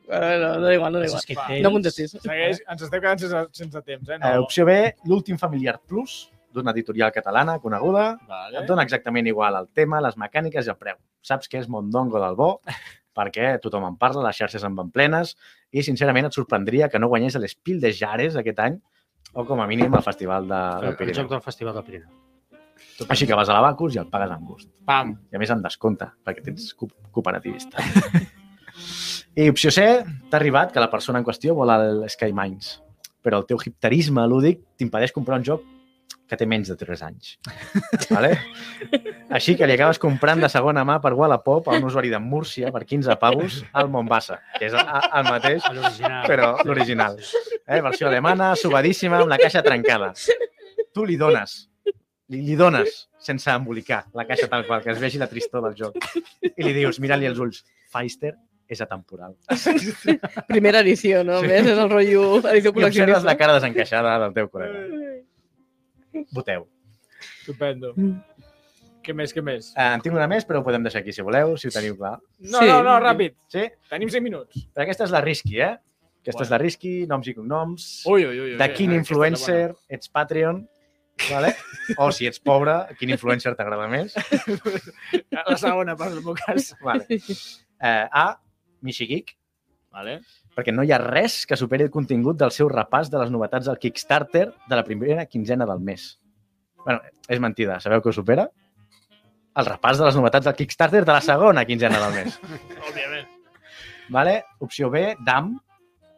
Speaker 3: Però no, no da igual, no da
Speaker 2: és
Speaker 3: igual.
Speaker 2: que
Speaker 3: No contestis.
Speaker 5: Segueix, ens estem quedant sense, sense temps, eh? No.
Speaker 4: Eh, opció B, l'últim familiar plus d'una editorial catalana coneguda,
Speaker 2: Eh?
Speaker 5: Vale.
Speaker 4: Et dona exactament igual el tema, les mecàniques i el preu. Saps que és Mondongo del
Speaker 2: [LAUGHS]
Speaker 4: bo, perquè tothom en parla, les xarxes en van plenes, i sincerament et sorprendria que no guanyés l'Espil de Jares aquest any, o com a mínim al Festival de, del
Speaker 2: el joc
Speaker 4: Pirineu.
Speaker 2: del Festival del Pirineu.
Speaker 4: Així que vas a l'Abacus i el pagues amb gust.
Speaker 5: Pam.
Speaker 4: I a més amb descompte, perquè tens co- [LAUGHS] cooperativista. I Eh, opció C, t'ha arribat que la persona en qüestió vol el Sky Mines, però el teu hipterisme lúdic t'impedeix comprar un joc que té menys de 3 anys. [LAUGHS] Vale? Així que li acabes comprant de segona mà per Wallapop a un usuari de Múrcia per 15 pavos al Mombasa, que és a- a- el mateix,
Speaker 2: A L'original.
Speaker 4: però l'original. Eh? Versió alemana, subadíssima, amb la caixa trencada. Tu li dones, li, li dones, sense embolicar la caixa tal qual, que es vegi la tristor del joc. I li dius, mira-li els ulls, Feister és atemporal.
Speaker 3: Primera edició, no? A més, és el rotllo edició
Speaker 4: I observes la
Speaker 3: col·leccionista.
Speaker 4: cara desencaixada del teu col·lega. Voteu.
Speaker 5: Estupendo.
Speaker 3: Mm.
Speaker 5: Què més, què més?
Speaker 4: Eh, en tinc una més, però ho podem deixar aquí, si voleu, si ho teniu clar.
Speaker 5: No,
Speaker 3: Sí.
Speaker 5: no, no, ràpid.
Speaker 4: Sí?
Speaker 5: Tenim 5 minuts.
Speaker 4: Però aquesta és la risky, eh? Aquesta és
Speaker 5: Bueno.
Speaker 4: la risky, noms i cognoms,
Speaker 5: Ui, ui, ui.
Speaker 4: de quin influencer ets Patreon, vale? o si ets pobre, quin influencer t'agrada més.
Speaker 5: La segona, per el meu cas.
Speaker 4: Vale. Eh, A, Michigik,
Speaker 5: Vale.
Speaker 4: perquè no hi ha res que superi el contingut del seu repàs de les novetats del Kickstarter de la primera quinzena del mes. bueno, és mentida. Sabeu que ho supera? El repàs de les novetats del Kickstarter de la segona quinzena del mes.
Speaker 5: Òbviament.
Speaker 4: Vale? Opció B, Dam,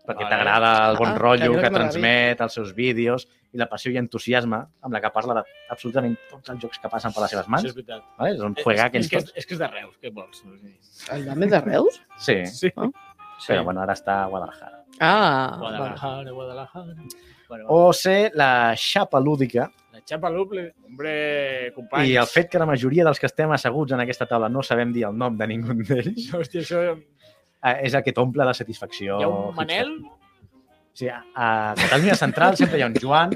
Speaker 4: perquè
Speaker 5: Vale.
Speaker 4: t'agrada el bon
Speaker 3: Ah,
Speaker 4: rotllo
Speaker 3: que
Speaker 4: que
Speaker 3: m'agradi.
Speaker 4: transmet, els seus vídeos i la passió i entusiasme amb la que parla d'absolutament tots els jocs que passen per les seves
Speaker 5: Això
Speaker 4: mans.
Speaker 5: és veritat.
Speaker 4: Vale? És un juegà que
Speaker 5: és,
Speaker 4: ens
Speaker 5: que és,
Speaker 4: tots.
Speaker 5: és que és de Reus, què vols?
Speaker 3: El dame de Reus?
Speaker 4: Sí,
Speaker 5: Sí.
Speaker 4: però bueno, ara està a Guadalajara.
Speaker 3: Ah, vale.
Speaker 5: Guadalajara, Guadalajara. Bueno, oh.
Speaker 4: o ser la xapa lúdica
Speaker 5: La xapa l'uple, hombre, company.
Speaker 4: i el fet que la majoria dels que estem asseguts en aquesta taula no sabem dir el nom de ningú d'ells
Speaker 5: [LAUGHS] Hòstia, això...
Speaker 4: eh, és el que t'omple de satisfacció.
Speaker 5: Hi ha un Manel?
Speaker 4: Sí, a, a Catalunya Central sempre hi ha un
Speaker 5: [LAUGHS]
Speaker 4: Joan,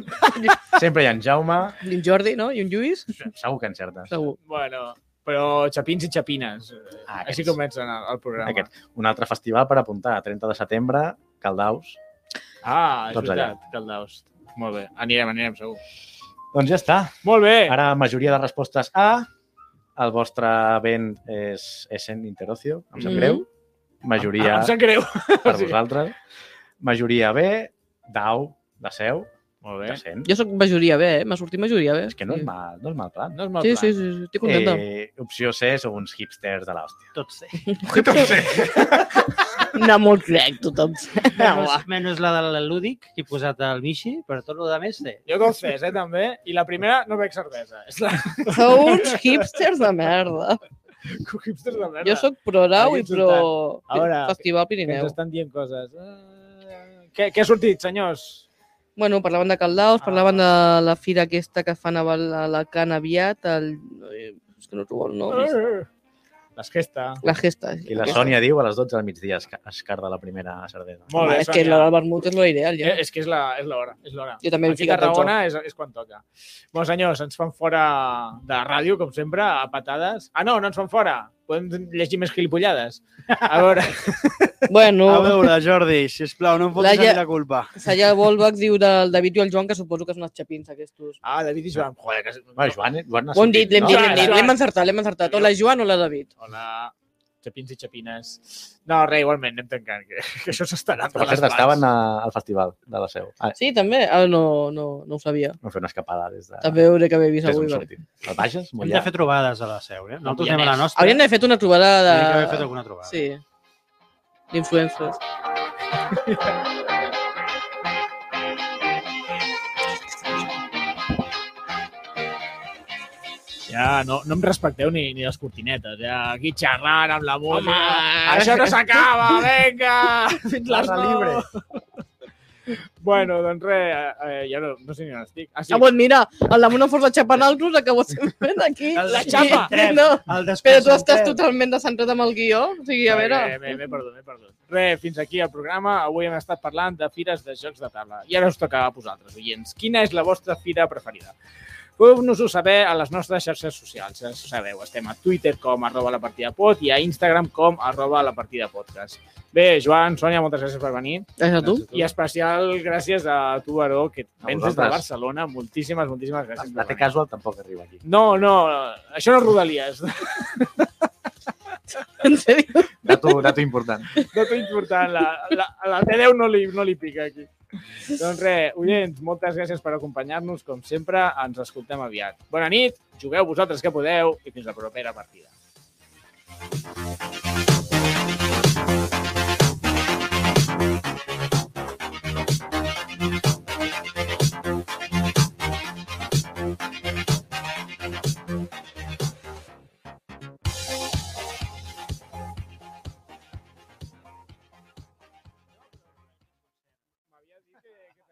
Speaker 4: sempre hi ha en Jaume,
Speaker 3: I un Jordi, no? I un Lluís?
Speaker 4: segur que encertes.
Speaker 3: Segur.
Speaker 5: Bueno, però xapins i xapines.
Speaker 4: Ah,
Speaker 5: Ah,
Speaker 4: aquests.
Speaker 5: Així comencen el, el programa.
Speaker 4: Aquest. Un altre festival per apuntar, 30 de setembre, Caldaus.
Speaker 5: Ah, és
Speaker 4: Tots allà.
Speaker 5: veritat, Caldaus. Molt bé, anirem, anirem, segur.
Speaker 4: Doncs ja està.
Speaker 5: Molt bé!
Speaker 4: Ara majoria de respostes A, el vostre vent és Essen Interocio, em sap
Speaker 3: Mhm.
Speaker 4: greu. Majoria...
Speaker 5: Ah, em sap greu.
Speaker 4: per
Speaker 5: Sí.
Speaker 4: vosaltres. Majoria B, Dau, de seu,
Speaker 5: Molt
Speaker 4: de cent.
Speaker 3: Jo sóc majoria B, eh? M'ha sortit majoria B.
Speaker 4: És que no és mal, no és mal plan.
Speaker 5: No és mal
Speaker 3: Sí,
Speaker 5: plan.
Speaker 3: sí, sí, sí, estic contenta.
Speaker 4: Eh, opció C, sou uns hipsters de l'hòstia.
Speaker 2: Tot sé.
Speaker 4: Tot C.
Speaker 3: [LAUGHS] Anar molt crec, tothom.
Speaker 2: Menys, menys la de l'Elúdic, que he posat al Michi, però tot el de més té.
Speaker 1: Jo dos fes, eh, també. I la primera no bec cervesa.
Speaker 5: [LAUGHS]
Speaker 1: És la
Speaker 3: Sou uns hipsters de merda.
Speaker 1: hipsters de merda.
Speaker 3: Jo sóc pro Arau i
Speaker 1: Aquí
Speaker 3: pro
Speaker 1: A veure,
Speaker 3: Festival
Speaker 1: Que
Speaker 3: Pirineu.
Speaker 1: ens estan dient coses. Eh, Què, què ha sortit, senyors?
Speaker 3: Bueno, parlaven de Caldaus,
Speaker 1: Ah.
Speaker 3: parlaven de la fira aquesta que fan a Val- a la Can aviat, el... eh, és que no trobo el nom.
Speaker 1: Les Eh, gesta.
Speaker 3: La gesta.
Speaker 4: Ah. I la Sònia diu a les 12 del migdia es, escarda la primera sardena.
Speaker 1: Molt
Speaker 3: Home,
Speaker 1: bé,
Speaker 3: és que
Speaker 1: Sònia.
Speaker 3: la del vermut és lo ideal,
Speaker 1: Eh,
Speaker 3: ja.
Speaker 1: és que és la- és l'hora, és l'hora.
Speaker 3: Jo també em
Speaker 1: Aquí a
Speaker 3: fico tot
Speaker 1: Tarragona és, és quan toca. Bon, senyors, ens fan fora de ràdio, com sempre, a patades. Ah, no, no ens fan fora. Podem llegir més gilipollades. A veure,
Speaker 3: Bueno,
Speaker 7: A veure, Jordi, sisplau, no em fotis
Speaker 3: Laia-
Speaker 7: a mi la culpa.
Speaker 3: Salla Volbach diu del David i el Joan, que suposo que són els xapins aquests.
Speaker 1: ah, David i Joan. Joder, que...
Speaker 4: Va, Joan, eh? Joan ha
Speaker 3: Bon
Speaker 4: sortit,
Speaker 3: dit, l'hem
Speaker 4: no?
Speaker 3: dit,
Speaker 1: Joan,
Speaker 3: l'hem dit,
Speaker 1: Joan.
Speaker 3: l'hem encertat, l'hem encertat. O la Joan o la David.
Speaker 1: Hola, xapins i xapines. No, res, igualment, anem tancant, que, que això s'està anant
Speaker 4: Per
Speaker 1: per les
Speaker 4: cert, estaven
Speaker 1: mans.
Speaker 4: a, al festival de la Seu. Ah,
Speaker 3: Sí, també? Ah, no, no, no ho sabia.
Speaker 4: vam fer una escapada des de...
Speaker 3: També hauré que haver
Speaker 4: des
Speaker 3: vist
Speaker 4: d'on
Speaker 3: avui. perquè-
Speaker 4: sortim. Al Bages,
Speaker 2: Hem
Speaker 4: Mollà.
Speaker 2: de fer trobades a la seu, eh? Nosaltres
Speaker 3: Ja
Speaker 2: anem a la
Speaker 3: més.
Speaker 2: nostra.
Speaker 3: Haurien d'haver fet una trobada de...
Speaker 2: Hauríem d'haver fet alguna trobada.
Speaker 3: Sí. D'influencers.
Speaker 1: Ja, no, no em respecteu ni, ni les cortinetes. Ja, aquí xerrant amb la música.
Speaker 3: Home!
Speaker 1: Això no
Speaker 3: [LAUGHS]
Speaker 1: s'acaba, vinga! Fins les
Speaker 4: Barra
Speaker 1: libre. Bueno, doncs res, eh, eh, ja no, no sé ni on estic. Ah, sí.
Speaker 3: Ah, bueno, mira, el damunt no fos la xapa en altres, acabo fent aquí.
Speaker 1: La xapa!
Speaker 3: Sí, No,
Speaker 2: El
Speaker 3: però tu estàs totalment descentrat amb el guió. O sigui, a veure...
Speaker 1: Eh, M'he m'he perdut, m'he perdut. Res, fins aquí el programa. Avui hem estat parlant de fires de jocs de taula. I ara us toca a vosaltres, oients. Quina és la vostra fira preferida? Podeu-nos-ho saber a les nostres xarxes socials. Ja sabeu, estem a Twitter com arroba la partida pot i a Instagram com arroba la partida podcast. Bé, Joan, Sònia, moltes gràcies per venir.
Speaker 3: És a tu?
Speaker 1: I especial gràcies a tu, Baró, que
Speaker 4: A
Speaker 1: vens des de
Speaker 4: vosaltres.
Speaker 1: Barcelona. Moltíssimes, moltíssimes gràcies.
Speaker 4: La
Speaker 1: per
Speaker 4: T
Speaker 1: venir.
Speaker 4: casual tampoc arriba aquí.
Speaker 1: No, no, això no és Rodalies.
Speaker 3: En sèrio?
Speaker 4: Dato, dato important.
Speaker 1: Dato important, la, la, a la T10 no li, no li pica aquí. Doncs res, oients, moltes gràcies per acompanyar-nos. Com sempre, ens escoltem aviat. Bona nit, jugueu vosaltres que podeu i fins la propera partida. M'havies dit que, que